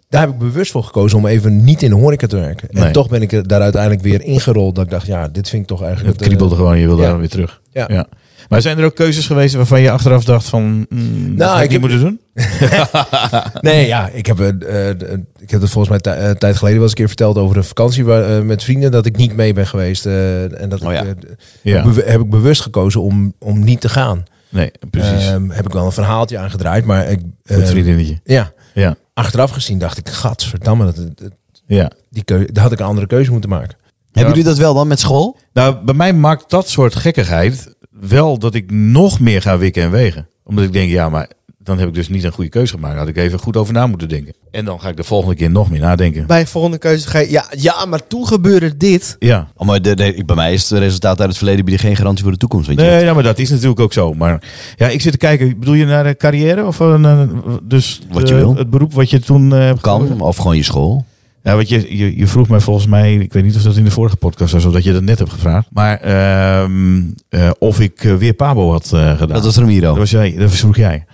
Speaker 5: daar heb ik bewust voor gekozen om even niet in de horeca te werken.
Speaker 3: Nee.
Speaker 5: En toch ben ik er daar uiteindelijk weer ingerold. Dat ik dacht, ja, dit vind ik toch eigenlijk...
Speaker 3: het kriebelde
Speaker 5: eh,
Speaker 3: gewoon, en je wilde
Speaker 5: ja.
Speaker 3: daar weer terug.
Speaker 5: Ja.
Speaker 3: Maar zijn er ook keuzes geweest waarvan je achteraf dacht van... nou, dat had ik
Speaker 5: ik
Speaker 3: niet
Speaker 5: heb-
Speaker 3: moeten doen?
Speaker 5: Nee, ja, ik heb, eh, eh, eh, ik heb het volgens mij tij- eh, een tijd geleden wel eens een keer verteld over een vakantie waar, eh, met vrienden. Dat ik niet mee ben geweest. eh, en dat
Speaker 2: Oh ja.
Speaker 5: ik, eh,
Speaker 3: Ja.
Speaker 5: bewe- heb ik bewust gekozen om, om niet te gaan.
Speaker 3: Nee, precies.
Speaker 5: Ehm, heb ik wel een verhaaltje aangedraaid, maar ik... eh,
Speaker 3: Goed vriendinnetje.
Speaker 5: ja,
Speaker 3: Ja.
Speaker 5: achteraf gezien dacht ik, gadverdamme, dat, dat-
Speaker 3: Ja.
Speaker 5: die keu- daar had ik een andere keuze moeten maken.
Speaker 2: Hebben jullie dat wel dan met school?
Speaker 3: Nou, bij mij maakt dat soort gekkigheid wel dat ik nog meer ga wikken en wegen. Omdat ik denk, ja, maar dan heb ik dus niet een goede keuze gemaakt. Daar had ik even goed over na moeten denken. En dan ga ik de volgende keer nog meer nadenken.
Speaker 1: Bij volgende keuze ga je, ja, ja, maar toen gebeurde dit.
Speaker 3: Ja.
Speaker 2: Oh, maar de, de- ik- bij mij is het resultaat uit het verleden bieden geen garantie voor de toekomst. Weet je?
Speaker 3: Nee, ja, maar dat is natuurlijk ook zo. Maar ja, ik zit te kijken. Bedoel je naar de carrière of eh, naar- dus
Speaker 2: Wat
Speaker 3: de-
Speaker 2: je wil.
Speaker 3: het beroep wat je toen eh, hebt gekozen?
Speaker 2: Kan, of gewoon je school.
Speaker 3: Ja, want je, je, je vroeg mij volgens mij, ik weet niet of dat in de vorige podcast was, of dat je dat net hebt gevraagd. Maar ehm, eh, of ik eh, weer Pabo had eh, gedaan.
Speaker 2: Dat was Ramiro.
Speaker 3: Dat was jij, dat vroeg jij.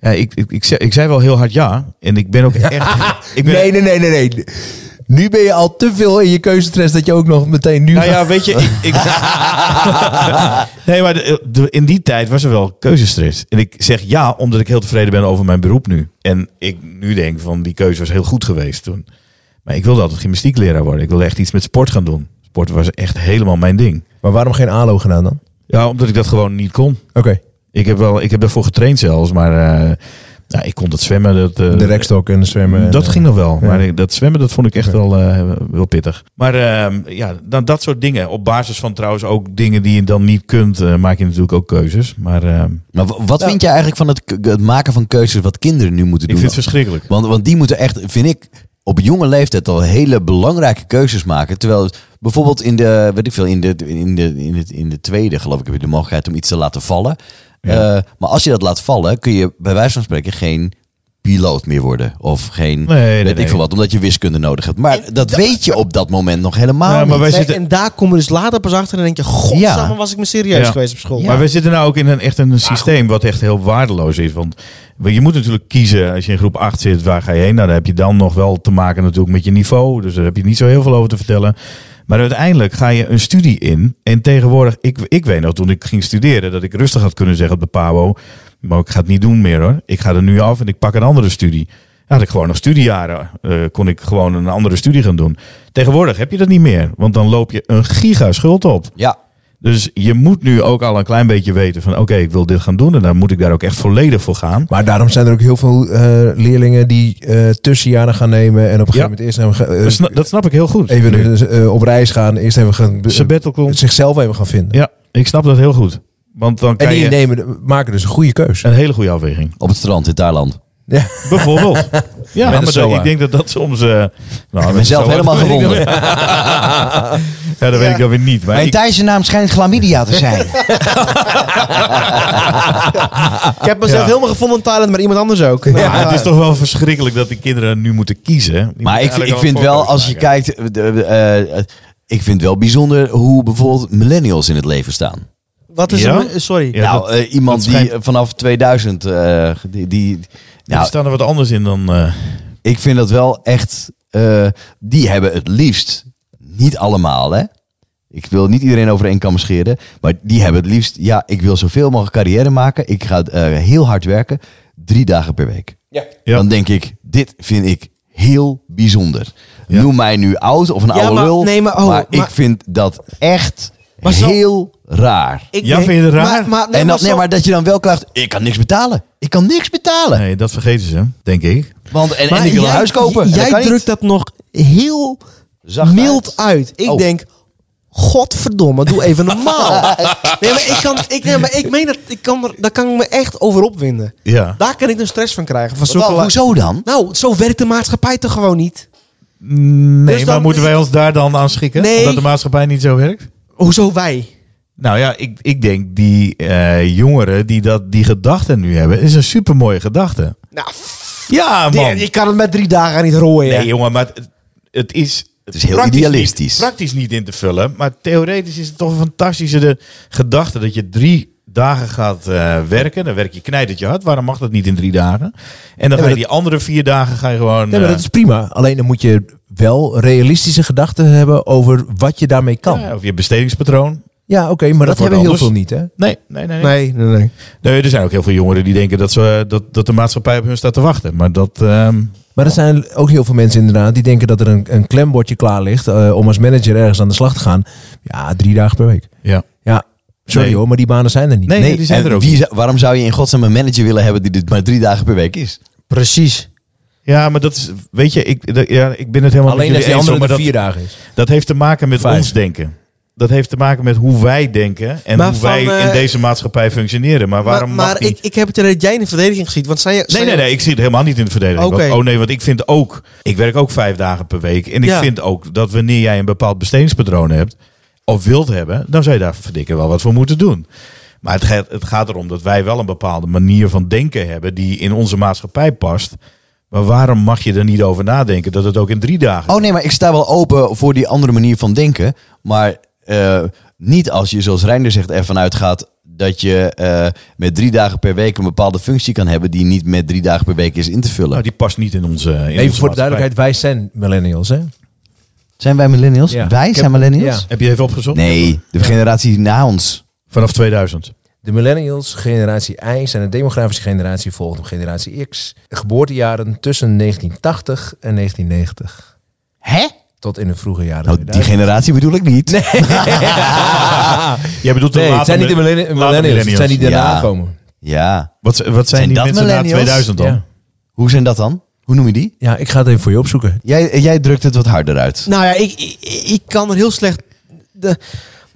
Speaker 3: Ja, ik, ik, ik, zei, ik zei wel heel hard ja. En ik ben ook echt. Ik ben,
Speaker 5: Nee, nee, nee, nee, nee. Nu ben je al te veel in je keuzestress dat je ook nog meteen nu...
Speaker 3: Nou ja, weet je. Ik, ik, nee, maar de- de- in die tijd was er wel keuzestress. En ik zeg ja, omdat ik heel tevreden ben over mijn beroep nu. En ik nu denk van die keuze was heel goed geweest toen. Maar ik wilde altijd gymnastiekleraar worden. Ik wilde echt iets met sport gaan doen. Sport was echt helemaal mijn ding.
Speaker 5: Maar waarom geen ALO gedaan dan?
Speaker 3: Ja, omdat ik dat gewoon niet kon.
Speaker 5: Oké,
Speaker 3: Ik heb, wel, ik heb daarvoor getraind zelfs, maar eh, nou, ik kon dat zwemmen. Dat, eh,
Speaker 5: de rekstok en de zwemmen. en,
Speaker 3: Dat
Speaker 5: eh,
Speaker 3: ging nog wel,
Speaker 5: ja.
Speaker 3: maar ik- dat zwemmen dat vond ik echt wel, eh, wel pittig. Maar ehm, ja, dan dat soort dingen. Op basis van trouwens ook dingen die je dan niet kunt, eh, maak je natuurlijk ook keuzes. Maar ehm,
Speaker 2: Maar wa- wat vind je eigenlijk van het, k- het maken van keuzes wat kinderen nu moeten
Speaker 3: ik
Speaker 2: doen?
Speaker 3: vind het verschrikkelijk.
Speaker 2: want, want die moeten echt, vind ik, op jonge leeftijd al hele belangrijke keuzes maken. Terwijl het bijvoorbeeld in de, weet ik veel, in de, in de, in het, in de tweede geloof ik heb je de mogelijkheid om iets te laten vallen. Eh, maar als je dat laat vallen, kun je bij wijze van spreken geen piloot meer worden. Of geen,
Speaker 3: Nee, nee,
Speaker 2: weet
Speaker 3: nee.
Speaker 2: ik veel wat, omdat je wiskunde nodig hebt. Maar
Speaker 1: En
Speaker 2: dat
Speaker 1: da-
Speaker 2: weet je op dat moment nog helemaal
Speaker 3: Ja, Nou, maar
Speaker 2: Oh, niet.
Speaker 3: wij
Speaker 1: Nee,
Speaker 3: zitten-
Speaker 1: En daar kom je dus later pas achter en denk je... Godsamme, was ik me serieus
Speaker 3: Ja.
Speaker 1: geweest op school.
Speaker 3: Maar we zitten nou ook in een, echt een systeem wat echt heel waardeloos is. Want je moet natuurlijk kiezen als je in groep 8 zit, waar ga je heen? Nou, dan heb je dan nog wel te maken natuurlijk met je niveau. Dus daar heb je niet zo heel veel over te vertellen. Maar uiteindelijk ga je een studie in. En tegenwoordig, ik, ik weet nog toen ik ging studeren, dat ik rustig had kunnen zeggen op de PABO. Maar ik ga het niet doen meer hoor. Ik ga er nu af en ik pak een andere studie. Ja, had ik gewoon nog studiejaren, eh, kon ik gewoon een andere studie gaan doen. Tegenwoordig heb je dat niet meer, want dan loop je een giga schuld op.
Speaker 2: Ja,
Speaker 3: Dus je moet nu ook al een klein beetje weten van... oké, ik wil dit gaan doen en dan moet ik daar ook echt volledig voor gaan.
Speaker 5: Maar daarom zijn er ook heel veel eh, leerlingen die eh, tussenjaren gaan nemen. En op een
Speaker 3: Ja.
Speaker 5: gegeven moment eerst even, gaan- eh,
Speaker 3: Dat sna- dat snap ik heel goed.
Speaker 5: even
Speaker 3: Nu.
Speaker 5: eh, op reis gaan. Eerst even gaan, eh,
Speaker 3: Sabbatical.
Speaker 5: zichzelf even gaan vinden.
Speaker 3: Ja, ik snap dat heel goed. Want dan
Speaker 5: En
Speaker 3: kan
Speaker 5: die
Speaker 3: je
Speaker 5: nemen, maken dus een goede keuze.
Speaker 3: een hele goede afweging.
Speaker 2: op het strand in Thailand.
Speaker 5: Ja.
Speaker 3: Bijvoorbeeld. Ja, maar
Speaker 5: SOA.
Speaker 3: dat, ik denk dat dat soms... eh nou, met
Speaker 2: ben zelf
Speaker 3: SOA,
Speaker 2: helemaal
Speaker 3: dat weet ik
Speaker 2: gewonden.
Speaker 3: dan- Ja, dat weet ik dan weer niet. Maar
Speaker 2: Mijn
Speaker 3: ik-
Speaker 2: Thaise naam schijnt chlamydia te zijn.
Speaker 1: Ik heb mezelf
Speaker 3: Ja.
Speaker 1: helemaal gevonden in Thailand, maar iemand anders ook. Nou,
Speaker 3: ja, het is toch wel verschrikkelijk dat die kinderen nu moeten kiezen. Die moeten
Speaker 2: Maar ik,
Speaker 3: eigenlijk
Speaker 2: ik vind
Speaker 3: een
Speaker 2: wel,
Speaker 3: voorkeur
Speaker 2: als je
Speaker 3: maken.
Speaker 2: kijkt, eh, de- eh, eh, ik vind het wel bijzonder hoe bijvoorbeeld millennials in het leven staan.
Speaker 1: Wat is
Speaker 3: Ja?
Speaker 1: een... eh, Sorry.
Speaker 3: Ja,
Speaker 2: nou,
Speaker 3: dat-
Speaker 2: eh, iemand
Speaker 3: dat
Speaker 2: die
Speaker 3: schijnt-
Speaker 2: eh, vanaf 2000, eh, die, die,
Speaker 3: Er
Speaker 2: nou,
Speaker 3: staan er wat anders in dan... eh,
Speaker 2: ik vind dat wel echt, eh, die hebben het liefst, niet allemaal hè, ik wil niet iedereen over één kam scheren, maar die hebben het liefst, ja, ik wil zoveel mogelijk carrière maken, ik ga eh, heel hard werken, drie dagen per week.
Speaker 3: ja.
Speaker 2: Dan denk ik, dit vind ik heel bijzonder.
Speaker 3: Ja.
Speaker 2: Noem mij nu oud of een oude
Speaker 1: maar-
Speaker 2: lul,
Speaker 1: nee, maar- oh,
Speaker 2: ik
Speaker 1: maar-
Speaker 2: vind dat echt
Speaker 1: Maar zo-
Speaker 2: heel raar.
Speaker 1: Ik
Speaker 3: Ja,
Speaker 1: denk-
Speaker 3: vind je het raar?
Speaker 1: Maar, maar, nee,
Speaker 2: en
Speaker 1: maar
Speaker 2: dat, nee,
Speaker 1: zo-
Speaker 2: maar dat je dan wel klaagt, ik kan niks betalen. Ik kan niks betalen.
Speaker 3: Nee, dat vergeten ze, denk ik.
Speaker 2: Want, en, en
Speaker 1: maar
Speaker 2: ik wil
Speaker 1: jij-
Speaker 2: een huis kopen.
Speaker 1: Jij
Speaker 2: dat kan niet.
Speaker 1: drukt dat nog heel
Speaker 2: Zacht
Speaker 1: mild
Speaker 2: uit.
Speaker 1: uit. Ik
Speaker 2: Oh.
Speaker 1: denk, godverdomme, doe even normaal. nee, maar ik kan, ik, nee, maar ik meen dat, ik kan er, daar kan ik me echt over opwinden.
Speaker 3: Ja.
Speaker 1: Daar kan ik een stress van krijgen. Van
Speaker 2: Wat,
Speaker 1: zulke la-
Speaker 2: hoezo dan?
Speaker 1: Nou, zo werkt de maatschappij toch gewoon niet?
Speaker 3: Nee,
Speaker 1: Dus dan-
Speaker 3: maar moeten wij ons daar dan aan schikken?
Speaker 1: Nee.
Speaker 3: Omdat de maatschappij niet zo werkt?
Speaker 1: Hoezo wij?
Speaker 3: Nou ja, ik, ik denk die eh, jongeren die dat, die gedachten nu hebben, is een supermooie gedachte.
Speaker 1: Nou,
Speaker 3: Ja, man.
Speaker 1: je kan het met drie dagen niet rooien.
Speaker 3: Nee, jongen, maar het, het is...
Speaker 2: Het is heel
Speaker 3: praktisch
Speaker 2: idealistisch.
Speaker 3: niet- praktisch niet in te vullen, maar theoretisch is het toch een fantastische de, gedachte dat je drie dagen gaat eh, werken. Dan werk je knijtend je hard. Waarom mag dat niet in drie dagen? En dan ga je
Speaker 5: dat-
Speaker 3: die andere vier dagen ga je gewoon...
Speaker 5: Nee,
Speaker 3: eh,
Speaker 5: maar dat is prima. Alleen dan moet je wel realistische gedachten hebben over wat je daarmee kan.
Speaker 3: ja,
Speaker 5: Ja,
Speaker 3: eh, of je bestedingspatroon.
Speaker 5: oké, maar dat,
Speaker 3: wordt
Speaker 5: hebben heel
Speaker 3: anders.
Speaker 5: veel niet, hè?
Speaker 3: Nee, nee, nee. nee.
Speaker 1: nee, nee. nee.
Speaker 3: Nee, er zijn ook heel veel jongeren die denken dat, ze, eh, dat, dat de maatschappij op hun staat te wachten. Maar dat... ehm,
Speaker 5: Maar er zijn ook heel veel mensen inderdaad die denken dat er een, een klembordje klaar ligt eh, om als manager ergens aan de slag te gaan. Ja, drie dagen per week.
Speaker 3: ja.
Speaker 5: Ja, sorry
Speaker 3: Nee.
Speaker 5: hoor, maar die banen zijn er niet.
Speaker 3: Nee, nee, die zijn
Speaker 2: en
Speaker 3: er ook.
Speaker 2: wie zou- waarom zou je in godsnaam een manager willen hebben die dit maar drie dagen per week is?
Speaker 1: Precies.
Speaker 3: Ja, maar dat is, weet je, ik, dat- ja, ik ben het helemaal
Speaker 5: Alleen
Speaker 3: met
Speaker 5: dat
Speaker 3: jullie eens,
Speaker 5: die andere
Speaker 3: hoor,
Speaker 5: er
Speaker 3: maar
Speaker 5: vier
Speaker 3: dat,
Speaker 5: dagen is.
Speaker 3: dat heeft te maken met
Speaker 5: Vijf.
Speaker 3: ons denken. Dat heeft te maken met hoe wij denken en
Speaker 1: Maar
Speaker 3: hoe
Speaker 1: van,
Speaker 3: wij in
Speaker 1: eh,
Speaker 3: deze maatschappij functioneren. Maar waarom
Speaker 1: maar maar
Speaker 3: mag niet?
Speaker 1: ik, ik heb het idee dat jij in de verdediging schiet. Want zij,
Speaker 3: Nee,
Speaker 1: zij-
Speaker 3: nee, nee, ik zie het helemaal niet in de verdediging.
Speaker 1: Oké.
Speaker 3: Want- oh nee, want ik vind ook, ik werk ook vijf dagen per week. En ik
Speaker 1: Ja.
Speaker 3: vind ook dat wanneer jij een bepaald bestedingspatroon hebt, of wilt hebben, dan zou je daar verdikken wel wat voor moeten doen. Maar het gaat, het gaat erom dat wij wel een bepaalde manier van denken hebben die in onze maatschappij past. Maar waarom mag je er niet over nadenken dat het ook in drie dagen...
Speaker 2: Oh nee, maar ik sta wel open voor die andere manier van denken. Maar eh, niet als je, zoals Reinder zegt, ervan uitgaat dat je eh, met drie dagen per week een bepaalde functie kan hebben die niet met drie dagen per week is in te vullen.
Speaker 3: Nou, die past niet in onze. In
Speaker 5: Even
Speaker 3: onze
Speaker 5: voor de
Speaker 3: maatschappij.
Speaker 5: duidelijkheid, wij zijn millennials, hè?
Speaker 2: Zijn wij millennials?
Speaker 5: Ja.
Speaker 2: Wij
Speaker 5: Ik
Speaker 2: zijn
Speaker 5: heb-
Speaker 2: millennials?
Speaker 5: ja.
Speaker 3: Heb je even opgezocht?
Speaker 2: Nee, de generatie na ons.
Speaker 3: Vanaf 2000.
Speaker 5: De millennials, generatie I, zijn een demografische generatie volgend op generatie X. Geboortejaren tussen 1980 en 1990.
Speaker 2: Hè?
Speaker 5: Tot in de vroege jaren.
Speaker 2: Nou, die
Speaker 5: 2000.
Speaker 2: generatie bedoel ik niet.
Speaker 3: Jij bedoelt de
Speaker 5: Nee, het
Speaker 3: late
Speaker 5: zijn niet de
Speaker 3: mil-
Speaker 5: millenni-
Speaker 3: late
Speaker 5: millennials, het zijn die
Speaker 3: millennials.
Speaker 5: daarna
Speaker 2: Ja.
Speaker 5: komen.
Speaker 2: Ja.
Speaker 3: Wat, z- wat zijn,
Speaker 2: Zijn
Speaker 3: die
Speaker 2: dat
Speaker 3: mensen na
Speaker 2: millennials?
Speaker 3: 2000 dan?
Speaker 5: Ja.
Speaker 2: Hoe zijn dat dan? Hoe noem je die?
Speaker 5: Ja, ik ga het even voor je opzoeken.
Speaker 2: Jij, eh, jij drukt het wat harder uit.
Speaker 1: Nou ja, ik, ik, ik kan er heel slecht... De,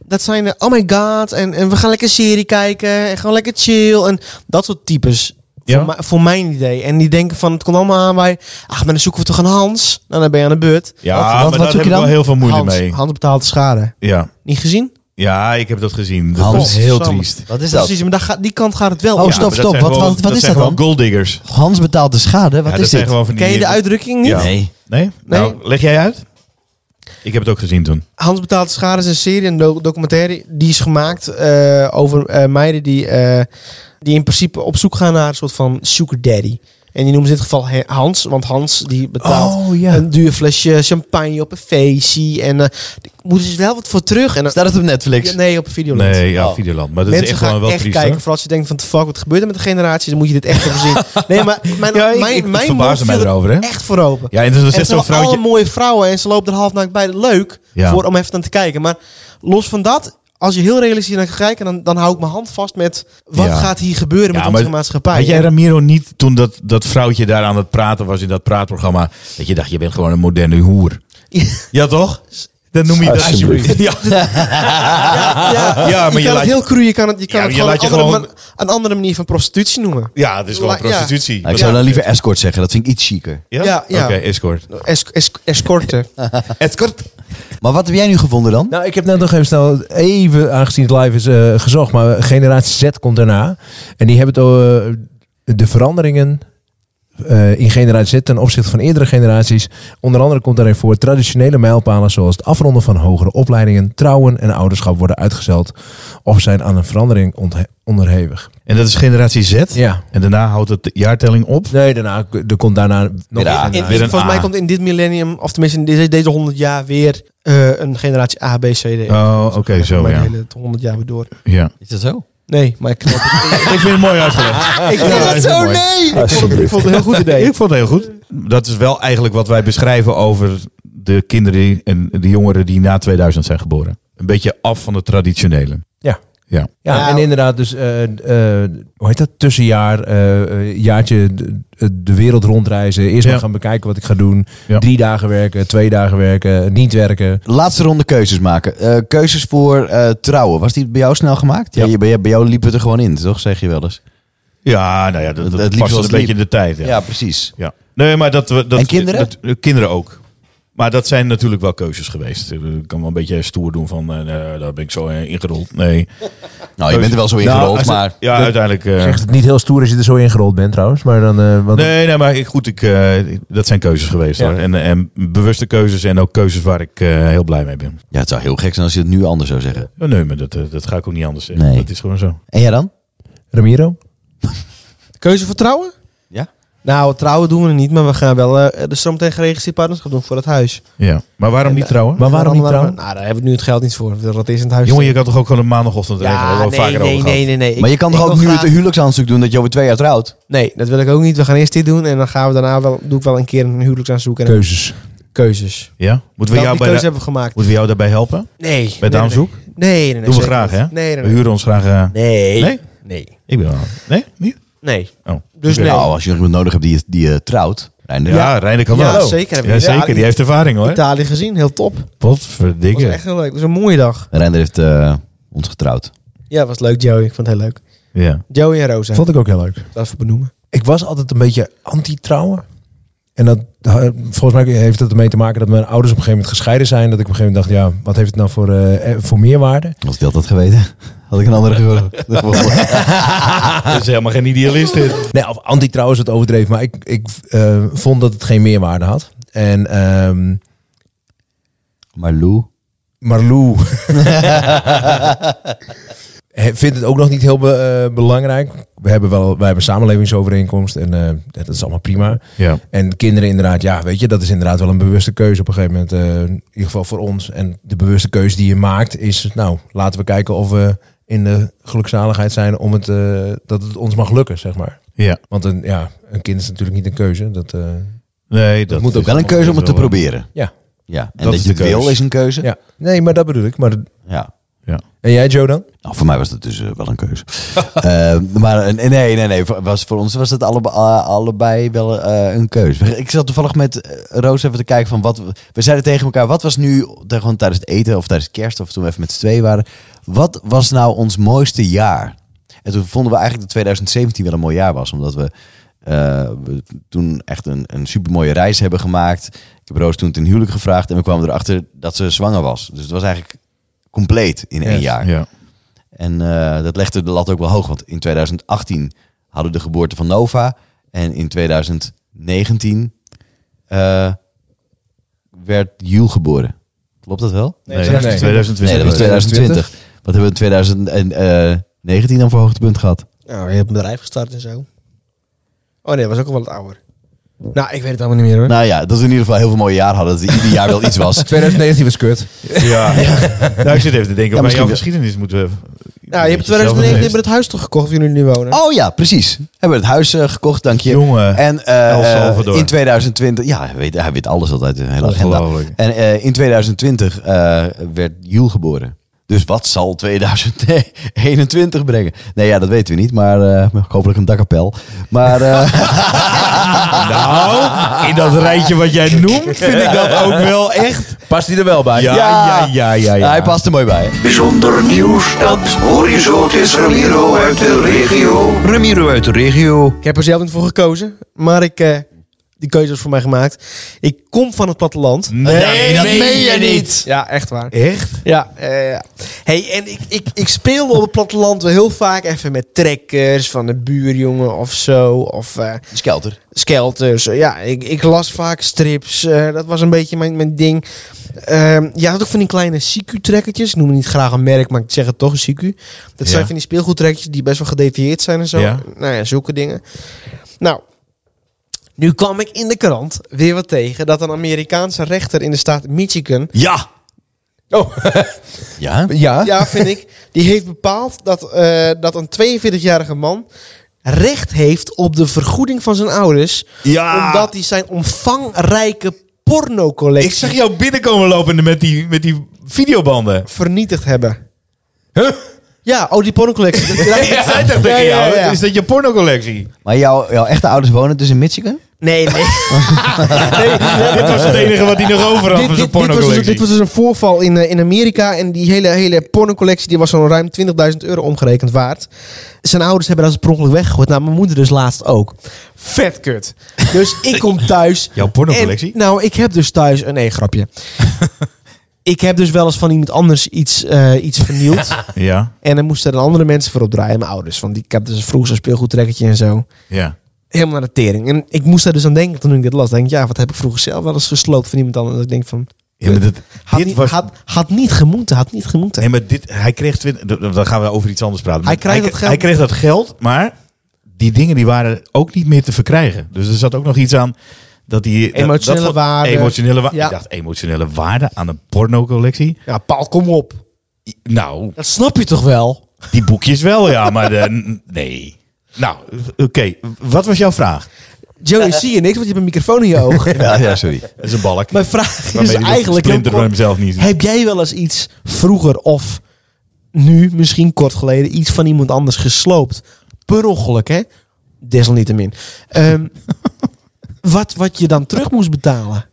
Speaker 1: dat zijn de, oh my god, en, en we gaan lekker serie kijken, en gewoon lekker chill, en dat soort types. Voor, mij- voor mijn idee. En die denken van, het komt allemaal aan bij... Ach, maar dan zoeken we toch een Hans? Nou, dan ben je aan de beurt.
Speaker 3: Ja,
Speaker 2: Wat- wat-
Speaker 3: maar
Speaker 2: wat
Speaker 3: daar
Speaker 2: zoek
Speaker 3: heb
Speaker 2: je
Speaker 3: ik wel
Speaker 2: dan?
Speaker 3: heel veel moeite
Speaker 1: Hans,
Speaker 3: mee.
Speaker 1: Hans betaalt de schade.
Speaker 3: Ja.
Speaker 1: Niet gezien?
Speaker 3: ja, ik heb dat gezien. Dat
Speaker 2: Hans.
Speaker 3: is heel
Speaker 1: Godsamme.
Speaker 3: triest.
Speaker 2: Wat is dat?
Speaker 1: Precies, maar daar gaat, die kant gaat het wel.
Speaker 2: Oh,
Speaker 1: op.
Speaker 3: Ja,
Speaker 2: stop,
Speaker 3: maar dat
Speaker 2: stop.
Speaker 3: zijn
Speaker 2: Wat-
Speaker 3: gewoon-
Speaker 2: wat- wat is
Speaker 3: zijn
Speaker 2: dat
Speaker 3: gewoon
Speaker 2: dan?
Speaker 3: golddiggers.
Speaker 2: Hans betaalt de schade. Wat
Speaker 3: Ja,
Speaker 2: is
Speaker 3: dat zijn
Speaker 2: dit?
Speaker 3: gewoon van die...
Speaker 1: Ken je de uitdrukking niet?
Speaker 3: Ja.
Speaker 2: Nee.
Speaker 3: Nee? Nou,
Speaker 1: Nee.
Speaker 3: leg jij uit? Ik heb het ook gezien toen.
Speaker 1: Hans betaalt schade is een serie, een do- documentaire. Die is gemaakt eh, over eh, meiden die, eh, die in principe op zoek gaan naar een soort van sugar daddy. En die noemen ze in dit geval He- Hans, want Hans die betaalt
Speaker 2: Oh, ja.
Speaker 1: een duur flesje champagne op een feestje. En eh daar moeten ze wel wat voor terug. En, dan-
Speaker 2: Staat het op Netflix?
Speaker 1: Ja, nee, op een video.
Speaker 3: Nee, ja,
Speaker 2: Oh.
Speaker 3: Videoland. Maar dat
Speaker 1: Mensen
Speaker 3: is echt
Speaker 1: gaan
Speaker 3: gewoon wel
Speaker 1: echt
Speaker 3: triest,
Speaker 1: kijken.
Speaker 3: hoor.
Speaker 1: Vooral als je denkt van, fuck, wat gebeurt er met de generaties? Dan moet je dit echt even zien. Nee, maar mijn,
Speaker 3: Ja, ik-
Speaker 1: mijn,
Speaker 3: ik- het
Speaker 1: mijn
Speaker 3: verbaasde
Speaker 1: mond
Speaker 3: mij
Speaker 1: viel er
Speaker 3: erover, hè?
Speaker 1: echt voor open.
Speaker 3: Ja, en dan
Speaker 1: En
Speaker 3: zegt
Speaker 1: het
Speaker 3: zo'n
Speaker 1: zijn
Speaker 3: vrouwtje...
Speaker 1: alle mooie vrouwen en ze loopt er halfnaakt bij. Leuk
Speaker 3: Ja.
Speaker 1: voor, om even naar te kijken. Maar los van dat, als je heel realistisch naar gaat kijken... dan, dan hou ik mijn hand vast met... wat
Speaker 3: Ja.
Speaker 1: gaat hier gebeuren met
Speaker 3: Ja,
Speaker 1: onze
Speaker 3: maar
Speaker 1: maatschappij?
Speaker 3: Had jij Ramiro niet toen dat, dat vrouwtje daar aan het praten was in dat praatprogramma? Dat je dacht, je bent gewoon een moderne hoer. Ja, toch? Dat noem je dat
Speaker 2: Alsjeblieft.
Speaker 3: Ja,
Speaker 1: ja, ja,
Speaker 3: Ja, maar
Speaker 1: je, kan
Speaker 3: je laat
Speaker 1: het
Speaker 3: je-
Speaker 1: heel cru, je kan het, je kan
Speaker 3: Ja,
Speaker 1: het
Speaker 3: je
Speaker 1: gewoon,
Speaker 3: laat je
Speaker 1: een andere
Speaker 3: gewoon-
Speaker 1: man- een andere manier van prostitutie noemen.
Speaker 3: ja het is gewoon
Speaker 1: La- ja.
Speaker 3: prostitutie.
Speaker 2: Nou, ik zou dan liever escort zeggen. Dat vind ik iets chiquer.
Speaker 3: Ja?
Speaker 1: Ja, ja.
Speaker 3: Oké, escort.
Speaker 1: Es- es- escorten.
Speaker 3: Escort.
Speaker 2: Maar wat heb jij nu gevonden dan?
Speaker 5: Nou, ik heb net nog even snel, even aangezien het live is eh, gezocht, maar Generatie Z komt daarna. En die hebben het, over de veranderingen eh, in Generatie Z ten opzichte van eerdere generaties. Onder andere komt daarin voor traditionele mijlpalen zoals het afronden van hogere opleidingen, trouwen en ouderschap worden uitgezeld of zijn aan een verandering onthe- onderhevig.
Speaker 3: En dat is generatie Z.
Speaker 5: Ja.
Speaker 3: En daarna houdt het de jaartelling op.
Speaker 5: Nee, daarna, er komt daarna nog
Speaker 2: Ja,
Speaker 5: een
Speaker 1: In,
Speaker 3: weer een
Speaker 1: volgens mij
Speaker 3: A.
Speaker 1: komt in dit millennium, of tenminste in deze, deze 100 jaar... weer eh, een generatie A, B, C, D.
Speaker 3: Oh, oké, zo
Speaker 1: Mijn
Speaker 3: ja.
Speaker 1: hele 100 jaar weer door.
Speaker 3: ja.
Speaker 2: Is dat zo?
Speaker 1: Nee, maar ik knap het.
Speaker 3: Ik vind het mooi uitgelegd.
Speaker 1: Ik vind
Speaker 3: Ja,
Speaker 1: het
Speaker 3: dat is
Speaker 1: zo,
Speaker 3: mooi.
Speaker 1: nee! Ik vond het-
Speaker 3: Ik
Speaker 1: Ik
Speaker 3: vond het een heel goed idee. Ik vond het heel goed. Dat is wel eigenlijk wat wij beschrijven over de kinderen die- en de jongeren die na 2000 zijn geboren. Een beetje af van het traditionele.
Speaker 5: Ja.
Speaker 3: Ja.
Speaker 5: Ja,
Speaker 1: Ja.
Speaker 5: en inderdaad, dus eh, eh, hoe heet dat? Tussenjaar, eh, eh, jaartje de, de wereld rondreizen. Eerst
Speaker 3: Ja.
Speaker 5: maar gaan bekijken wat ik ga doen.
Speaker 3: Ja.
Speaker 5: Drie dagen werken, twee dagen werken, niet werken.
Speaker 2: Laatste ronde keuzes maken. Eh, keuzes voor eh, trouwen. Was die bij jou snel gemaakt? Ja.
Speaker 3: Ja.
Speaker 2: je- bij, jou- bij jou liep het er gewoon in, toch? Zeg je wel eens.
Speaker 3: Ja, nou ja, dat, dat
Speaker 2: Het liep
Speaker 3: past wel
Speaker 2: zoals
Speaker 3: een
Speaker 2: het
Speaker 3: beetje in de tijd.
Speaker 2: Ja,
Speaker 3: Ja. Ja.
Speaker 2: precies.
Speaker 3: Nee, maar dat, we- dat,
Speaker 2: En kinderen?
Speaker 3: dat- eh, kinderen ook. Maar dat zijn natuurlijk wel keuzes geweest. Eh, Ik kan wel een beetje stoer doen van, eh, nou, daar ben ik zo eh, ingerold. Nee.
Speaker 2: Nou, je bent er wel zo ingerold,
Speaker 3: Nou, als het-
Speaker 2: maar...
Speaker 3: Ja, uiteindelijk... eh,
Speaker 5: Echt niet heel stoer als je er zo ingerold bent trouwens. Maar dan, eh, want
Speaker 3: Nee, nee, maar ik, goed, ik, eh, dat zijn keuzes geweest.
Speaker 5: Ja.
Speaker 3: Hoor. En, en bewuste keuzes en ook keuzes waar ik eh, heel blij mee ben.
Speaker 2: Ja, het zou heel gek zijn als je het nu anders zou zeggen.
Speaker 3: Ja, Nee, maar dat, eh, dat ga ik ook niet anders zeggen.
Speaker 2: Nee.
Speaker 3: Dat is gewoon zo.
Speaker 2: En jij dan?
Speaker 5: Ramiro?
Speaker 1: Keuze voor trouwen?
Speaker 2: Ja.
Speaker 1: Nou, trouwen doen we niet, maar we gaan wel eh de stroom tegen geregistreerd partnerschap doen voor het huis.
Speaker 3: Ja. Maar waarom
Speaker 2: eh,
Speaker 3: niet trouwen?
Speaker 5: Maar waarom niet
Speaker 1: Andere-
Speaker 5: trouwen?
Speaker 1: Nou, daar hebben we nu het geld niet voor. Dat is in het huis.
Speaker 3: Jongen, je kan toch ook gewoon een maandagochtend regelen? Daar
Speaker 1: ja, nee,
Speaker 3: hebben we
Speaker 1: nee,
Speaker 3: al vaker
Speaker 1: nee,
Speaker 3: over gehad.
Speaker 1: nee, nee, nee.
Speaker 2: maar je
Speaker 1: Ik-
Speaker 2: kan toch
Speaker 1: ik
Speaker 2: ook
Speaker 1: wil
Speaker 2: nu
Speaker 1: graag-
Speaker 2: het huwelijksaanzoek doen dat je over twee jaar trouwt?
Speaker 1: Nee, dat wil ik ook niet. We gaan eerst dit doen en dan gaan we daarna wel, doe ik wel een keer een huwelijksaanzoek en
Speaker 5: Keuzes.
Speaker 1: keuzes.
Speaker 3: Ja? Moeten, we
Speaker 1: Wel,
Speaker 3: jou
Speaker 1: die
Speaker 3: bij
Speaker 1: keuze
Speaker 3: de-
Speaker 1: hebben we gemaakt.
Speaker 3: moeten we jou daarbij helpen?
Speaker 1: Nee.
Speaker 3: Bij
Speaker 1: nee,
Speaker 3: het aanzoek?
Speaker 1: Nee, nee, nee. nee,
Speaker 3: Doen we
Speaker 1: zeker
Speaker 3: graag,
Speaker 1: niet.
Speaker 3: hè?
Speaker 1: Nee,
Speaker 3: We
Speaker 1: nee, nee.
Speaker 3: huren ons graag... eh,
Speaker 1: Nee.
Speaker 3: Nee?
Speaker 1: Nee.
Speaker 3: Ik ben wel... Nee? Niet?
Speaker 1: Nee.
Speaker 3: Oh.
Speaker 1: Dus nee.
Speaker 2: Nou, als je nog iemand nodig hebt die je, die je trouwt. Reinder.
Speaker 3: Ja, ja kan
Speaker 1: Ja,
Speaker 3: wel.
Speaker 1: zeker.
Speaker 3: Ja, zeker. Die heeft ervaring, hoor.
Speaker 1: Italië gezien, heel top. Was
Speaker 3: Potverdikke.
Speaker 1: echt heel leuk. Was een mooie dag.
Speaker 2: Reinder heeft eh, ons getrouwd.
Speaker 1: Ja, was leuk, Joey. Ik vond het heel leuk.
Speaker 3: Ja.
Speaker 1: Joey en Rosa.
Speaker 5: Vond ik ook heel leuk.
Speaker 1: Dat even benoemen.
Speaker 5: ik was altijd een beetje anti-trouwen. En dat, eh, volgens mij heeft dat ermee te maken dat mijn ouders op een gegeven moment gescheiden zijn. Dat ik op een gegeven moment dacht, ja, wat heeft het nou voor, eh, eh, voor meerwaarde?
Speaker 2: Als ik dat had geweten, had ik een andere gehoord.
Speaker 3: Dat is helemaal geen idealist, dit.
Speaker 5: Nee, of anti-trouw is het overdreven, maar ik, ik eh, vond dat het geen meerwaarde had. En ehm
Speaker 2: maar Lou,
Speaker 5: Marlou He- vindt het ook nog niet heel be- eh, belangrijk. We hebben wel, wij hebben samenlevingsovereenkomst en eh, dat is allemaal prima.
Speaker 3: Ja.
Speaker 5: En kinderen inderdaad, ja, weet je, dat is inderdaad wel een bewuste keuze op een gegeven moment. eh, in ieder geval voor ons. En de bewuste keuze die je maakt is, nou, laten we kijken of we in de gelukzaligheid zijn om het, eh, dat het ons mag lukken, zeg maar.
Speaker 3: Ja.
Speaker 5: Want een, ja, een kind is natuurlijk niet een keuze. Dat, eh,
Speaker 3: Nee, dat,
Speaker 5: moet ook
Speaker 3: is
Speaker 2: wel een keuze om het te
Speaker 3: wel een-
Speaker 2: proberen.
Speaker 5: ja,
Speaker 2: Ja, en dat,
Speaker 3: Dat is
Speaker 2: je
Speaker 3: de
Speaker 2: het wil
Speaker 3: keus.
Speaker 2: is een keuze. Ja.
Speaker 5: ja. Nee, maar dat bedoel ik. Maar,
Speaker 3: Ja.
Speaker 5: en jij, Joe, dan?
Speaker 2: Nou, voor mij was dat dus eh, wel een keuze. Eh, maar een- nee, nee, nee. voor- Was, voor ons was dat alle, eh, allebei wel eh, een keuze. Ik zat toevallig met eh, Roos even te kijken van wat... we- We zeiden tegen elkaar, wat was nu te- gewoon tijdens het eten of tijdens kerst... of toen we even met z'n tweeën waren... Wat was nou ons mooiste jaar? En toen vonden we eigenlijk dat 2017 wel een mooi jaar was. Omdat we, eh, we toen echt een, een supermooie reis hebben gemaakt. Ik heb Roos toen ten huwelijk gevraagd. En we kwamen erachter dat ze zwanger was. Dus het was eigenlijk compleet in één
Speaker 5: Yes.
Speaker 2: jaar.
Speaker 3: Ja.
Speaker 2: En eh, dat legde de lat ook wel hoog. Want in 2018 hadden we de geboorte van Nova. En in 2019 eh, werd Jules geboren. Klopt dat wel?
Speaker 3: Nee,
Speaker 5: dat was
Speaker 3: 2020.
Speaker 2: Nee, dat was 2020. Wat hebben we in 2019 dan voor hoogtepunt gehad?
Speaker 1: Nou, je hebt een bedrijf gestart en zo. Oh nee, dat was ook al wat ouder. Nou, ik weet het allemaal niet meer hoor.
Speaker 2: Nou ja, dat we in ieder geval heel veel mooie jaren hadden. Dat er ieder jaar wel iets was.
Speaker 5: 2019 was kut.
Speaker 3: Ja. Nou, ik zit even te denken, bij
Speaker 2: misschien
Speaker 3: jouw
Speaker 2: wel.
Speaker 3: geschiedenis moeten we...
Speaker 1: nou, je hebt in 2019 hebben het huis toch gekocht waar jullie nu wonen?
Speaker 2: Oh ja, precies. Hebben we het huis eh, gekocht, dank je.
Speaker 3: Jongen,
Speaker 2: En eh,
Speaker 3: El Salvador.
Speaker 2: in 2020, ja, hij weet, hij weet alles altijd, een hele agenda.
Speaker 3: Ongelooflijk.
Speaker 2: En eh, in 2020 eh, werd Jules geboren. Dus wat zal 2021 brengen? Nee, ja, dat weten we niet, maar eh, hopelijk een dakkapel. Maar eh,
Speaker 5: Ah,
Speaker 3: Nou, in dat rijtje wat jij noemt, vind ik dat ook wel echt...
Speaker 5: Past hij er wel bij?
Speaker 3: Ja, ja, ja, ja. ja.
Speaker 2: Nou, hij past er mooi bij.
Speaker 6: Bijzonder nieuws, dat hoor je zo. Het is Ramiro uit de regio. Ramiro uit de regio.
Speaker 1: Ik heb er zelf niet voor gekozen, maar ik, eh, die keuze was voor mij gemaakt. Ik kom van het platteland. Eh,
Speaker 3: Nee, dat meen je
Speaker 1: niet. Ja, echt waar.
Speaker 3: Echt?
Speaker 1: Ja, eh, ja. hey, en ik, ik, ik speelde op het platteland wel heel vaak even met trekkers van de buurjongen of zo. Of eh,
Speaker 2: Skelter.
Speaker 1: skelters. dus. Ja, ik, ik las vaak strips. eh, dat was een beetje mijn, mijn ding. Ehm je had ook van die kleine CQ-trekkertjes. Ik noem het niet graag een merk, maar ik zeg het toch, een CQ. Dat zijn
Speaker 3: Ja.
Speaker 1: van die speelgoedtrekkertjes die best wel gedetailleerd zijn en zo.
Speaker 3: Ja.
Speaker 1: Nou ja, zulke dingen. Nou, nu kwam ik in de krant weer wat tegen... dat een Amerikaanse rechter in de staat Michigan...
Speaker 2: Ja.
Speaker 5: Oh,
Speaker 2: Ja?
Speaker 5: ja.
Speaker 1: Ja, vind ik. Die heeft bepaald dat, eh, dat een 42-jarige man recht heeft op de vergoeding van zijn ouders.
Speaker 3: Ja.
Speaker 1: Omdat hij zijn omvangrijke
Speaker 3: Ik
Speaker 1: pornocollectie
Speaker 3: zag jou binnenkomen lopen met die, met die videobanden.
Speaker 1: vernietigd hebben. Ja, oh, die pornocollectie. Dat-
Speaker 3: Ik zei toch tegen
Speaker 1: ja,
Speaker 3: jou,
Speaker 1: ja.
Speaker 3: is dat je pornocollectie?
Speaker 2: Maar jouw, jouw echte ouders wonen dus in Michigan?
Speaker 1: Nee, nee.
Speaker 3: Dit was het enige wat hij nog over had
Speaker 1: dit, dit-
Speaker 3: van zijn
Speaker 1: dit was dus, dit
Speaker 3: pornocollectie.
Speaker 1: was dus een voorval in, eh, in Amerika. En die hele, hele pornocollectie die was zo'n ruim 20.000 euro omgerekend waard. Zijn ouders hebben dat per ongeluk weggegooid. Nou, mijn moeder dus laatst ook. Vet kut. Dus ik kom thuis.
Speaker 3: Jouw pornocollectie?
Speaker 1: En, nou, ik heb dus thuis... een nee, grapje. ik heb dus wel eens van iemand anders iets, eh, iets vernield.
Speaker 3: Ja,
Speaker 1: en dan moesten er andere mensen voor opdraaien. Mijn ouders. Want ik heb dus vroeg zo'n speelgoedtrekkertje en zo
Speaker 3: ja.
Speaker 1: helemaal naar de tering. En ik moest daar dus aan denken toen ik dit las. Denk ik, ja, wat heb ik vroeger zelf wel eens gesloopt van iemand anders. Ik denk van,
Speaker 3: ja maar dat,
Speaker 1: had,
Speaker 3: dit
Speaker 1: niet,
Speaker 3: was,
Speaker 1: had, had niet gemoeten, had niet gemoeten.
Speaker 3: nee, maar dit, hij kreeg... twin- Dan gaan we over iets anders praten.
Speaker 1: Hij krijgt dat geld.
Speaker 3: Hij kreeg dat geld, maar die dingen die waren ook niet meer te verkrijgen. Dus er zat ook nog iets aan... Dat die, dat-
Speaker 1: Emotionele
Speaker 3: dat, vond-
Speaker 1: waarde.
Speaker 3: Emotionele waarde.
Speaker 1: Ja.
Speaker 3: Ik dacht, emotionele waarde aan een pornocollectie?
Speaker 1: Ja, Paul, kom op.
Speaker 3: Nou,
Speaker 1: Dat snap je toch wel?
Speaker 3: Die boekjes wel, ja, maar de, nee. Nou, oké. Wat was jouw vraag?
Speaker 1: Joey, zie je niks, want je hebt een microfoon in je oog.
Speaker 2: Ja, ja sorry.
Speaker 3: Dat is een balk.
Speaker 1: Mijn vraag
Speaker 3: Waarmee
Speaker 1: is
Speaker 3: je dat
Speaker 1: eigenlijk... heel
Speaker 3: splinter van
Speaker 1: kort,
Speaker 3: hemzelf niet.
Speaker 1: heb jij wel eens iets vroeger of nu, misschien kort geleden, iets van iemand anders gesloopt? Per ongeluk, hè? Desalniettemin. Ehm, wat, wat je dan terug moest betalen?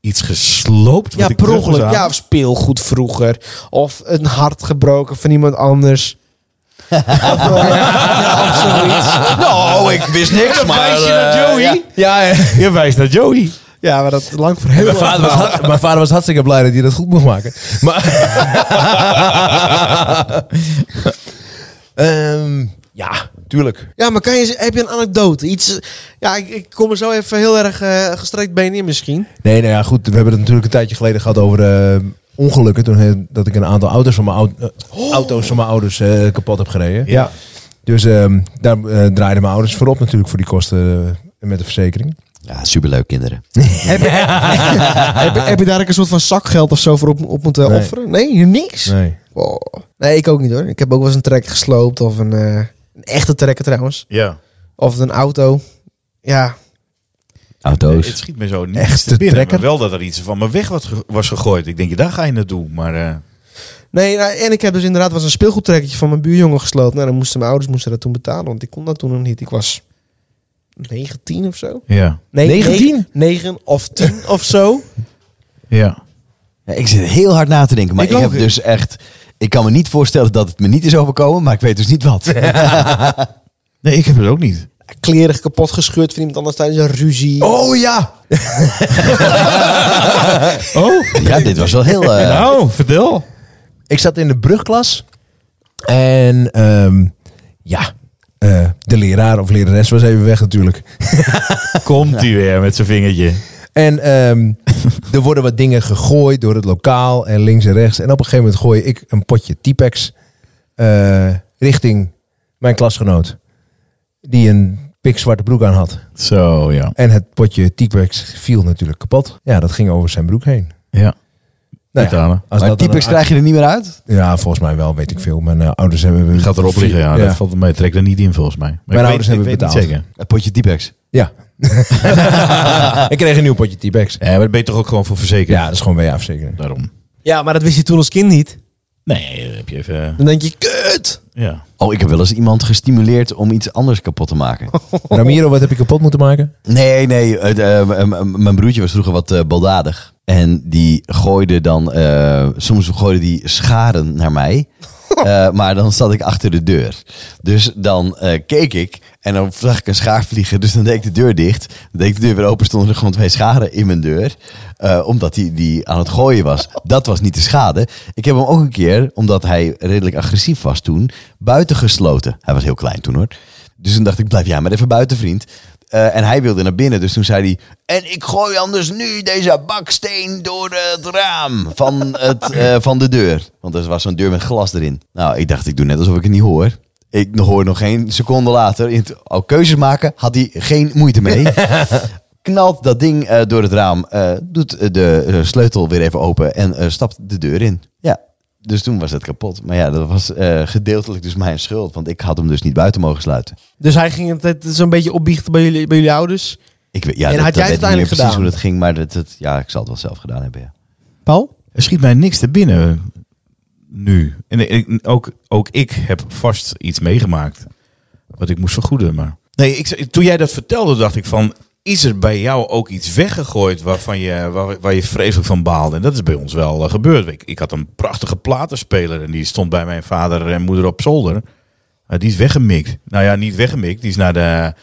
Speaker 3: Iets gesloopt? wat
Speaker 1: Ja,
Speaker 3: ik
Speaker 1: per
Speaker 3: terug
Speaker 1: ongeluk.
Speaker 3: moest
Speaker 1: Ja,
Speaker 3: halen?
Speaker 1: of speelgoed vroeger. Of een hart gebroken van iemand anders. of, eh, ja, of zoiets.
Speaker 3: Eh,
Speaker 2: Nou, ik wist niks, maar... eh,
Speaker 1: Joey?
Speaker 5: Ja, ja.
Speaker 3: Je wijst naar Joey.
Speaker 1: Ja, maar dat lang voor heel
Speaker 5: Mijn
Speaker 1: lang.
Speaker 5: vader, was, hart- mijn vader was hartstikke blij dat hij dat goed mocht maken. Maar. Ehm, ja, tuurlijk.
Speaker 1: Ja, maar kan je, heb je een anekdote? Iets, eh, ja, ik, ik kom er zo even heel erg eh, gestrekt been in misschien.
Speaker 5: Nee, nou ja, goed. We hebben het natuurlijk een tijdje geleden gehad over eh, ongelukken. Toen he- dat ik een aantal auto's van mijn, oud- eh, auto's van mijn ouders eh, kapot heb gereden.
Speaker 3: Ja.
Speaker 5: Dus ehm, daar eh, draaiden mijn ouders voor op natuurlijk voor die kosten eh, met de verzekering.
Speaker 2: Ja, superleuk kinderen.
Speaker 1: heb, je- heb je daar ook een soort van zakgeld of zo voor op, op moeten
Speaker 5: Nee.
Speaker 1: offeren? Nee, niks?
Speaker 5: Nee.
Speaker 1: Oh. Nee, ik ook niet hoor. Ik heb ook wel eens een trekker gesloopt of een, eh, een echte trekker trouwens.
Speaker 3: Ja.
Speaker 1: Of een auto. Ja,
Speaker 2: Auto's.
Speaker 3: het schiet me zo niet
Speaker 5: Echte
Speaker 3: te binnen.
Speaker 5: trekker.
Speaker 3: Maar wel dat er iets van me weg was, ge- was gegooid. Ik denk, ja, daar ga je naartoe. Maar eh,
Speaker 1: Nee, nou, en ik heb dus inderdaad was een speelgoedtrekkertje van mijn buurjongen gesloopt. Nou, dan moesten mijn ouders moesten dat toen betalen, want ik kon dat toen nog niet. Ik was 19 of zo.
Speaker 3: ja.
Speaker 1: Nee,
Speaker 5: 19?
Speaker 1: 9, of 10 of zo.
Speaker 3: Ja.
Speaker 2: Ja, ik zit heel hard na te denken, maar
Speaker 1: Ik
Speaker 2: ik, heb
Speaker 1: ook.
Speaker 2: dus echt... Ik kan me niet voorstellen dat het me niet is overkomen, maar ik weet dus niet wat.
Speaker 3: Nee, ik heb het ook niet.
Speaker 1: Kleren kapot gescheurd van iemand anders tijdens een ruzie.
Speaker 5: Oh ja!
Speaker 3: Oh,
Speaker 2: ja, dit was wel heel... eh,
Speaker 3: nou, vertel.
Speaker 5: Ik zat in de brugklas. En ehm, ja, eh, de leraar of lerares was even weg natuurlijk.
Speaker 3: Komt hij weer met zijn vingertje.
Speaker 5: En ehm, er worden wat dingen gegooid door het lokaal en links en rechts. En op een gegeven moment gooi ik een potje T-Pex eh, richting mijn klasgenoot. Die een pikzwarte broek aan had.
Speaker 3: Zo, ja.
Speaker 5: En het potje T-Pex viel natuurlijk kapot. Ja, dat ging over zijn broek heen.
Speaker 3: Ja.
Speaker 5: Nou ja,
Speaker 3: Betalen.
Speaker 5: als
Speaker 2: maar
Speaker 5: dat dan
Speaker 2: typisch
Speaker 5: een-
Speaker 2: krijg je er niet meer uit?
Speaker 5: Ja, volgens mij wel, weet ik veel. Mijn eh, ouders hebben...
Speaker 3: Gaat erop liggen, ja.
Speaker 5: Ja.
Speaker 3: Dat valt mij. Trek er niet in, volgens mij. Maar
Speaker 5: Mijn ouders hebben
Speaker 3: weet niet
Speaker 5: betaald.
Speaker 3: zeker.
Speaker 2: Het potje Typex.
Speaker 5: Ja. ik kreeg een nieuw potje T-Pex.
Speaker 3: Ja, maar daar ben je toch ook gewoon voor verzekerd?
Speaker 5: Ja, dat is gewoon WA-verzekering.
Speaker 3: Daarom.
Speaker 1: Ja, maar dat wist je toen als kind niet.
Speaker 3: Nee, dat heb je even... eh,
Speaker 1: Dan denk je, kut!
Speaker 3: Ja.
Speaker 2: Oh, ik heb wel eens iemand gestimuleerd om iets anders kapot te maken.
Speaker 5: Ramiro, wat heb je kapot moeten maken?
Speaker 2: Nee, nee. het, eh, m- m- m- mijn broertje was vroeger wat eh, baldadig. En die gooide dan, eh, soms gooide die scharen naar mij. Eh, maar dan zat ik achter de deur. Dus dan eh, keek ik en dan zag ik een schaar vliegen. Dus dan deed ik de deur dicht. Dan deed ik de deur weer open. Stonden er gewoon twee scharen in mijn deur. Eh, omdat die, die aan het gooien was. Dat was niet de schade. Ik heb hem ook een keer, omdat hij redelijk agressief was toen, buitengesloten. Hij was heel klein toen hoor. Dus toen dacht ik, blijf jij maar even buiten, vriend. Eh, en hij wilde naar binnen, dus toen zei hij... En ik gooi anders nu deze baksteen door het raam van, het, eh, van de deur. Want er was zo'n deur met glas erin. Nou, ik dacht, ik doe net alsof ik het niet hoor. Ik hoor nog geen seconde later. In het, al keuzes maken had hij geen moeite mee. Knalt dat ding eh, door het raam, eh, doet eh, de eh, sleutel weer even open en eh, stapt de deur in. Ja, dus toen was het kapot. Maar ja, dat was eh, gedeeltelijk dus mijn schuld, want ik had hem dus niet buiten mogen sluiten.
Speaker 1: Dus hij ging het- het zo'n beetje opbiechten bij jullie, bij jullie ouders.
Speaker 2: Ik weet, ja,
Speaker 1: En
Speaker 2: dat,
Speaker 1: had
Speaker 2: dat
Speaker 1: jij
Speaker 2: weet
Speaker 1: het
Speaker 2: ik niet meer
Speaker 1: uiteindelijk
Speaker 2: precies
Speaker 1: gedaan?
Speaker 2: hoe dat ging, maar dat, dat, ja, ik zal het wel zelf gedaan hebben. Ja.
Speaker 1: Paul?
Speaker 3: Er schiet mij niks te binnen nu. En ik- ook, ook ik heb vast iets meegemaakt wat ik moest vergoeden. Maar... Nee, ik, toen jij dat vertelde, dacht ik van... Is er bij jou ook iets weggegooid waarvan je, waar, waar je vreselijk van baalde? En dat is bij ons wel eh, gebeurd. Ik, ik had een prachtige platenspeler en die stond bij mijn vader en moeder op zolder. Eh, die is weggemikt. Nou ja, niet weggemikt. Die is naar de naar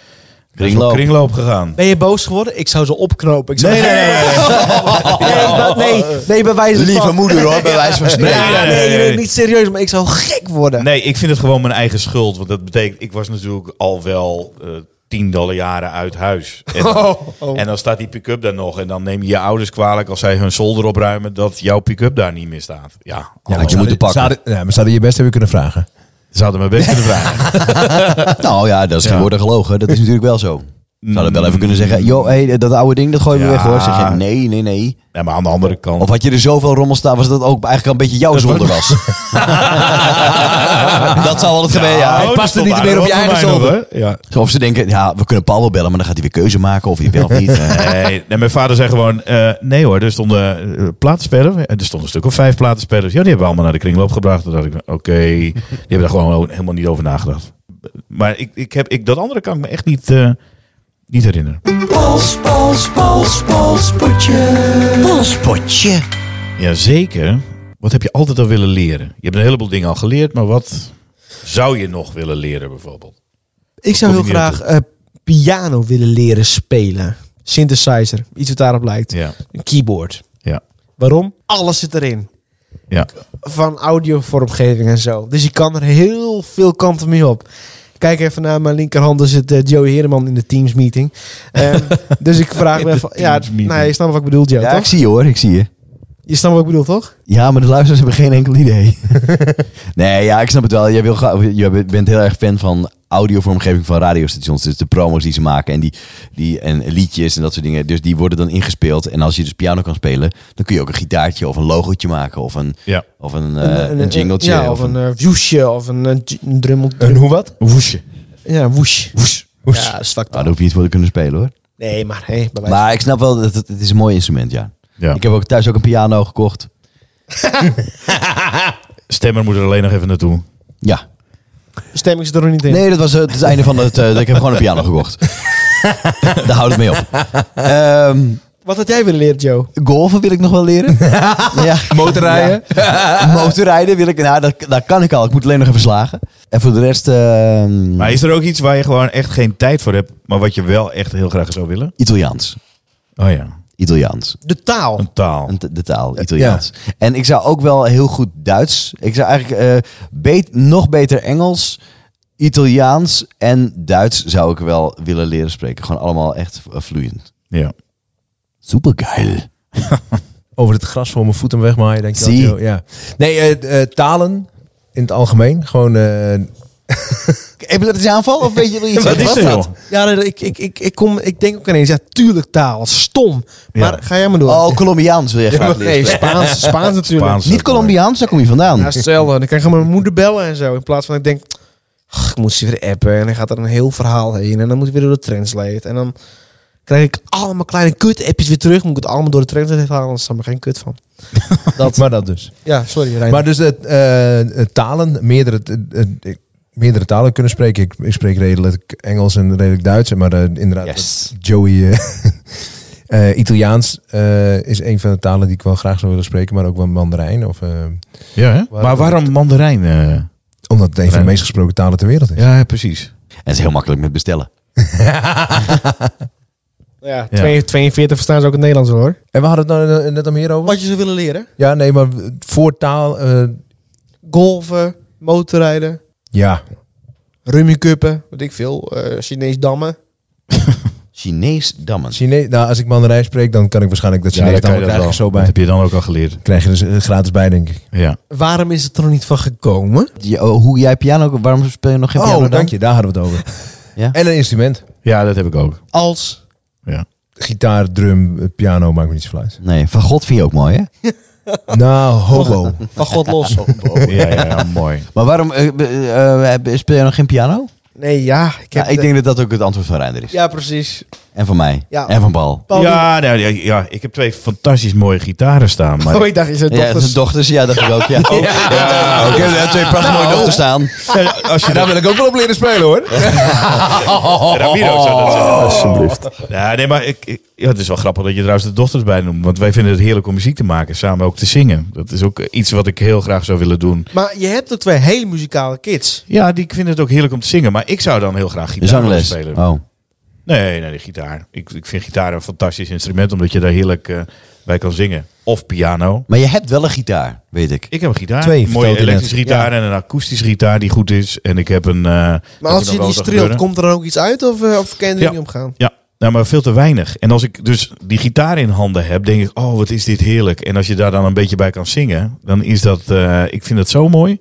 Speaker 3: zo'n
Speaker 2: Kringloop.
Speaker 3: kringloop gegaan.
Speaker 1: Ben je boos geworden? Ik zou ze opknopen. Ik zou...
Speaker 3: Nee, nee, nee, nee,
Speaker 1: nee, dat- nee, nee, bij wijze van...
Speaker 2: Lieve moeder hoor, bij wijze van spreken.
Speaker 1: Ja,
Speaker 3: nee,
Speaker 1: nee, je
Speaker 3: nee,
Speaker 1: bent
Speaker 3: nee.
Speaker 1: niet serieus, maar ik zou gek
Speaker 5: Eh.
Speaker 1: worden.
Speaker 3: Nee, ik vind het gewoon mijn eigen schuld. Want dat betekent, ik was natuurlijk al wel eh, tientallen jaren uit huis. En,
Speaker 5: Oh,
Speaker 3: en dan staat die pick-up daar nog. En dan neem je je ouders kwalijk als zij hun zolder opruimen dat jouw pick-up daar niet meer staat. Ja,
Speaker 2: Ja, had je
Speaker 5: Zouden-
Speaker 2: moeten pakken.
Speaker 5: zouden- ja, maar zouden je best hebben kunnen vragen.
Speaker 3: ze hadden me best kunnen vragen.
Speaker 2: Nou ja, dat is geen
Speaker 3: Ja.
Speaker 2: woorden gelogen. Dat is natuurlijk wel zo. Ze hadden wel even kunnen zeggen, joh, hey, dat oude ding, dat gooien we
Speaker 3: Ja.
Speaker 2: weg hoor. Zeg je, nee, nee, nee.
Speaker 3: Nee, maar aan de andere kant.
Speaker 2: Of had je er zoveel rommel staan, was dat ook eigenlijk al een beetje jouw zonde was. dat zal wel het geweest ja.
Speaker 3: Oh,
Speaker 5: past
Speaker 3: dat
Speaker 5: er niet
Speaker 3: stond
Speaker 5: meer op
Speaker 3: aardig wat
Speaker 5: je eigen
Speaker 3: voor mij nog, hè? Ja.
Speaker 2: Zo, Of ze denken, ja, we kunnen Paul wel bellen, maar dan gaat hij weer keuze maken of hij wel of niet. Eh,
Speaker 3: Nee, nee, mijn vader zei gewoon, eh, nee hoor, er stonden eh, platenspellers. Er stonden een stuk of vijf platenspellers. Ja, die hebben we allemaal naar de kringloop gebracht. Toen dacht ik, oké, die hebben daar gewoon helemaal niet over nagedacht. Maar ik, ik heb, ik, dat andere kan ik me echt niet, eh, niet herinneren.
Speaker 6: Pols, pols, pols, pols, potje.
Speaker 2: Polspotje.
Speaker 3: Jazeker. Wat heb je altijd al willen leren? Je hebt een heleboel dingen al geleerd, maar wat zou je nog willen leren bijvooreld?
Speaker 1: Ik zou heel
Speaker 3: Kom je niet
Speaker 1: graag eh, piano willen leren spelen. Synthesizer, iets wat daarop lijkt.
Speaker 3: Ja,
Speaker 1: Een keyboard.
Speaker 3: ja,
Speaker 1: Waarom? Alles zit erin.
Speaker 3: ja.
Speaker 1: Van audiovormgeving en zo. Dus je kan er heel veel kanten mee op. Kijk even naar mijn linkerhand, daar zit eh, Joey Heerman in de Teams meeting. Ehm, dus ik vraag me even... Ja,
Speaker 3: Teams-meeting.
Speaker 1: nee, je snapt wat ik bedoel, Joe,
Speaker 2: Ja, ik
Speaker 1: toch?
Speaker 2: zie je hoor, ik zie je.
Speaker 1: Je snapt wat ik bedoel, toch?
Speaker 2: Ja, maar de luisteraars hebben geen enkel idee. nee, ja, ik snap het wel. Jij, wil gra- jij bent heel erg fan van audiovormgeving van radiostations. Dus de promos die ze maken en, die, die, en liedjes en dat soort dingen. Dus die worden dan ingespeeld. En als je dus piano kan spelen, dan kun je ook een gitaartje of een logootje maken. Of een,
Speaker 3: Ja.
Speaker 2: of een, eh, een, jingletje.
Speaker 1: Ja, of een eh, woesje, of een, eh, j- een drummel.
Speaker 5: Een hoe wat?
Speaker 3: Woesje.
Speaker 1: Ja, woes.
Speaker 5: Woes.
Speaker 1: Ja, dat is fucked
Speaker 2: Ah, daar
Speaker 1: up.
Speaker 2: hoef je niet voor te kunnen spelen hoor.
Speaker 1: Nee, maar hey, bij wijze
Speaker 2: Maar ik snap wel, dat het, het is een mooi instrument, ja.
Speaker 3: Ja.
Speaker 2: Ik heb ook thuis ook een piano gekocht.
Speaker 3: Stemmer moet er alleen nog even naartoe.
Speaker 2: Ja.
Speaker 1: Stemming zit er nog niet in.
Speaker 2: Nee, dat was eh, het, einde van het... eh, ik heb gewoon een piano gekocht. Daar houdt het mee op. Ehm,
Speaker 1: Wat had jij willen leren, Joe?
Speaker 2: Golven wil ik nog wel leren. ja.
Speaker 5: Motorrijden?
Speaker 2: Ja. Motorrijden wil ik. Nou, dat, dat kan ik al. Ik moet alleen nog even slagen. En voor de rest. ehm,
Speaker 3: Maar is er ook iets waar je gewoon echt geen tijd voor hebt, maar wat je wel echt heel graag zou willen?
Speaker 2: Italiaans.
Speaker 3: Oh ja,
Speaker 2: Italiaans.
Speaker 1: De taal.
Speaker 3: een taal.
Speaker 2: Een t- De taal, Italiaans. En ik zou ook wel heel goed Duits. Ik zou eigenlijk eh, bet- nog beter Engels, Italiaans en Duits zou ik wel willen leren spreken. Gewoon allemaal echt eh, vloeiend.
Speaker 3: Ja.
Speaker 2: Supergeil.
Speaker 5: over het gras voor mijn voeten wegmaaien. Denk je
Speaker 2: Zie.
Speaker 5: dat, joh, ja. Nee, eh, eh, talen in het algemeen. Gewoon, eh,
Speaker 2: Epileptische aanval of weet je wel iets?
Speaker 3: Wat is
Speaker 2: was
Speaker 3: er
Speaker 2: dat?
Speaker 3: joh?
Speaker 1: Ja, nee, ik, ik, ik, ik, kom, ik denk ook ineens, ja, tuurlijk taal. Stom. Maar
Speaker 3: Ja.
Speaker 1: ga jij maar door.
Speaker 2: Oh, Colombiaans wil je
Speaker 1: Ja,
Speaker 2: graag
Speaker 1: maar-
Speaker 2: leren.
Speaker 1: nee, Spaans, Spaans natuurlijk.
Speaker 3: Spaans.
Speaker 2: Niet Colombiaans, daar kom je vandaan.
Speaker 1: Ja, stel dan. Dan kan ik mijn moeder bellen en zo. In plaats van ik denk, "Ach, ik moet ze weer appen. En dan gaat er een heel verhaal heen. En dan moet ik weer door de translate. En dan krijg ik allemaal kleine kut-appjes weer terug. Moet ik het allemaal door de translate halen, anders staat er geen kut van.
Speaker 5: maar dat dus.
Speaker 1: Ja, sorry Rijn.
Speaker 5: Maar dus het, eh, eh, talen, meerdere, eh, eh, ik- meerdere talen kunnen spreken. Ik, ik spreek redelijk Engels en redelijk Duits. Maar eh, inderdaad,
Speaker 2: Yes.
Speaker 5: dat Joey... eh, eh, Italiaans eh, is een van de talen die ik wel graag zou willen spreken. Maar ook wel Mandarijn. Of, eh,
Speaker 3: Ja, hè? Maar waarom mandarijn? eh?
Speaker 5: omdat het een van de
Speaker 3: Mandarijn.
Speaker 5: meest gesproken talen ter wereld is.
Speaker 3: Ja, precies.
Speaker 2: En het is heel makkelijk met bestellen.
Speaker 1: ja,
Speaker 3: Ja.
Speaker 1: 42 42 verstaan ze ook in het Nederlands hoor.
Speaker 5: En we hadden het nou eh, net al meer over.
Speaker 1: Wat je zou willen leren.
Speaker 5: Ja, nee, maar voor taal... eh,
Speaker 1: Golven, motorrijden,
Speaker 5: ja,
Speaker 1: rummikuppen, weet ik veel. eh Chinees dammen.
Speaker 2: Chinees dammen.
Speaker 5: Chinees, nou, als ik Mandarijn spreek, dan kan ik waarschijnlijk dat Chinees dan krijg ik zo
Speaker 3: Dat
Speaker 5: bij.
Speaker 3: heb je dan ook al geleerd.
Speaker 5: Krijg je dus eh, gratis bij, denk ik.
Speaker 3: Ja.
Speaker 1: Waarom is het er nog niet van gekomen?
Speaker 2: Ja, oh, hoe jij piano, waarom speel Oh, je nog geen piano dan?
Speaker 5: Oh, dank je. Daar hadden we het over.
Speaker 2: Ja.
Speaker 5: En een instrument.
Speaker 3: ja, dat heb ik ook.
Speaker 1: Als
Speaker 3: Ja.
Speaker 5: Gitaar, drum, eh, piano, maakt me niet zoveel uit.
Speaker 2: Nee, van God vind je ook mooi hè?
Speaker 5: Nou, hobo.
Speaker 1: van God los.
Speaker 3: Ja, ja, ja, mooi.
Speaker 2: Maar waarom eh, be- eh, eh, speel je nog geen piano?
Speaker 1: Nee, ja. Ik,
Speaker 2: Ja,
Speaker 1: heb
Speaker 2: ik
Speaker 1: de-
Speaker 2: denk dat dat ook het antwoord van Reinder is.
Speaker 1: ja precies.
Speaker 2: En van mij.
Speaker 1: Ja.
Speaker 2: En van Bal.
Speaker 1: Paul,
Speaker 3: Ja, nou, ja, ja, ik heb twee fantastisch mooie gitaren staan. Maar
Speaker 1: Oh, ik dacht, is het
Speaker 2: Ja,
Speaker 1: dokters?
Speaker 2: zijn dochters, ja, dacht ik ook. Ja. Oh, ja. Ik heb daar twee prachtige mooie dochters staan.
Speaker 3: als je dat
Speaker 5: wil ik ook wel op leren spelen, hoor.
Speaker 3: Ramiro zou dat zeggen. Alsjeblieft. Oh. Ja, nee, maar ik, ik- ja, het is wel grappig dat je trouwens de dochters bij noemt. Want wij vinden het heerlijk om muziek te maken. Samen ook te zingen. Dat is ook eh, iets wat ik heel graag zou willen doen.
Speaker 1: Maar je hebt ook twee hele muzikale kids.
Speaker 3: Ja, die vinden het ook heerlijk om te zingen. Maar ik zou dan heel graag
Speaker 2: De
Speaker 3: gitaar willen
Speaker 2: zangles.
Speaker 3: spelen.
Speaker 2: Oh.
Speaker 3: Nee, nee, die gitaar. Ik, ik vind gitaar een fantastisch instrument. Omdat je daar heerlijk eh, bij kan zingen. Of piano.
Speaker 2: Maar je hebt wel een gitaar, weet ik.
Speaker 3: Ik heb een gitaar.
Speaker 5: Twee,
Speaker 3: een mooie
Speaker 5: vertelde je net.
Speaker 3: elektrische gitaar en een akoestische gitaar die goed is. En ik heb een...
Speaker 1: Maar als je die streelt, komt er dan ook iets uit? Of, eh, of kan je er
Speaker 3: Ja.
Speaker 1: niet omgaan?
Speaker 3: Ja, nou, maar veel te weinig. En als ik dus die gitaar in handen heb, denk ik, oh, wat is dit heerlijk. En als je daar dan een beetje bij kan zingen, dan is dat... eh, ik vind het zo mooi.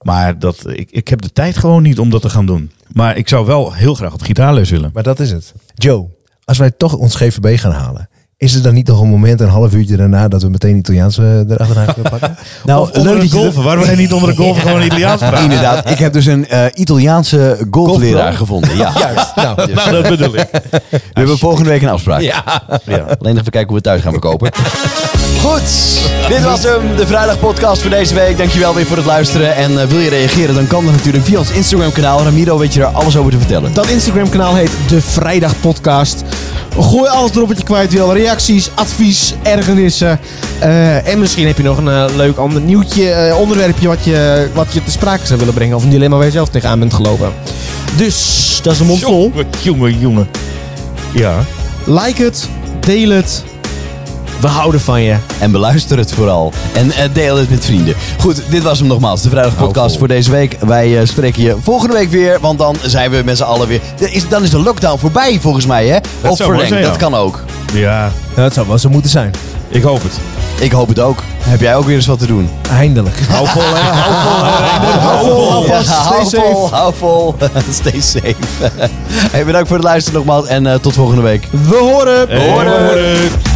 Speaker 3: Maar dat, ik, ik heb de tijd gewoon niet om dat te gaan doen. Maar ik zou wel heel graag op gitaarles willen.
Speaker 5: Maar dat is het. Joe, als wij toch ons GVB gaan halen, is er dan niet nog een moment, een half uurtje daarna, dat we meteen Italiaans eh, erachteraan kunnen pakken?
Speaker 2: Nou,
Speaker 3: Of onder een golven. Waarom ga je niet onder een golven gewoon Italiaans praten?
Speaker 2: Inderdaad, ik heb dus een eh, Italiaanse golfleraar gevonden. Ja.
Speaker 5: Juist. Nou,
Speaker 3: Nou, dat bedoel ik.
Speaker 2: We hebben volgende week een afspraak.
Speaker 3: Ja.
Speaker 2: Alleen even kijken hoe we thuis gaan verkopen. Goed, dit was hem, de vrijdagpodcast voor deze week. Dankjewel weer voor het luisteren. En eh, wil je reageren, dan kan dat natuurlijk via ons Instagram-kanaal. Ramiro weet je daar alles over te vertellen.
Speaker 1: Dat Instagram-kanaal heet De Vrijdag Podcast. Gooi alles erop wat je kwijt wil. Reacties, advies, ergernissen. Eh, en misschien heb je nog een eh, leuk ander nieuwtje, eh, onderwerpje wat je, wat je te sprake zou willen brengen. Of een dilemma waar je zelf tegenaan bent gelopen. Dus, dat is een mond vol.
Speaker 3: Jongen, jongen, jongen. Ja.
Speaker 1: Like het, deel het. We houden van je.
Speaker 2: En beluister het vooral. En eh, deel het met vrienden. Goed, dit was hem nogmaals. De vrijdagpodcast voor deze week. Wij eh, spreken je volgende week weer. Want dan zijn we met z'n allen weer. Er Is, dan is de lockdown voorbij volgens mij, hè? of
Speaker 3: zou mooi
Speaker 2: verlengd.
Speaker 3: zijn,
Speaker 2: dat
Speaker 3: ja.
Speaker 2: kan ook.
Speaker 3: Ja,
Speaker 5: dat zou wel zo moeten zijn.
Speaker 3: ik hoop het.
Speaker 2: Ik hoop het ook. Heb jij ook weer eens wat te doen?
Speaker 5: Eindelijk.
Speaker 3: Hou vol, hè. Hou vol, hè. Hou vol.
Speaker 2: Ja, hou
Speaker 5: stay
Speaker 2: vol, hou vol. stay safe. hey, bedankt voor het luisteren nogmaals. En eh, tot volgende week.
Speaker 1: We horen.
Speaker 3: Hey, hoor het.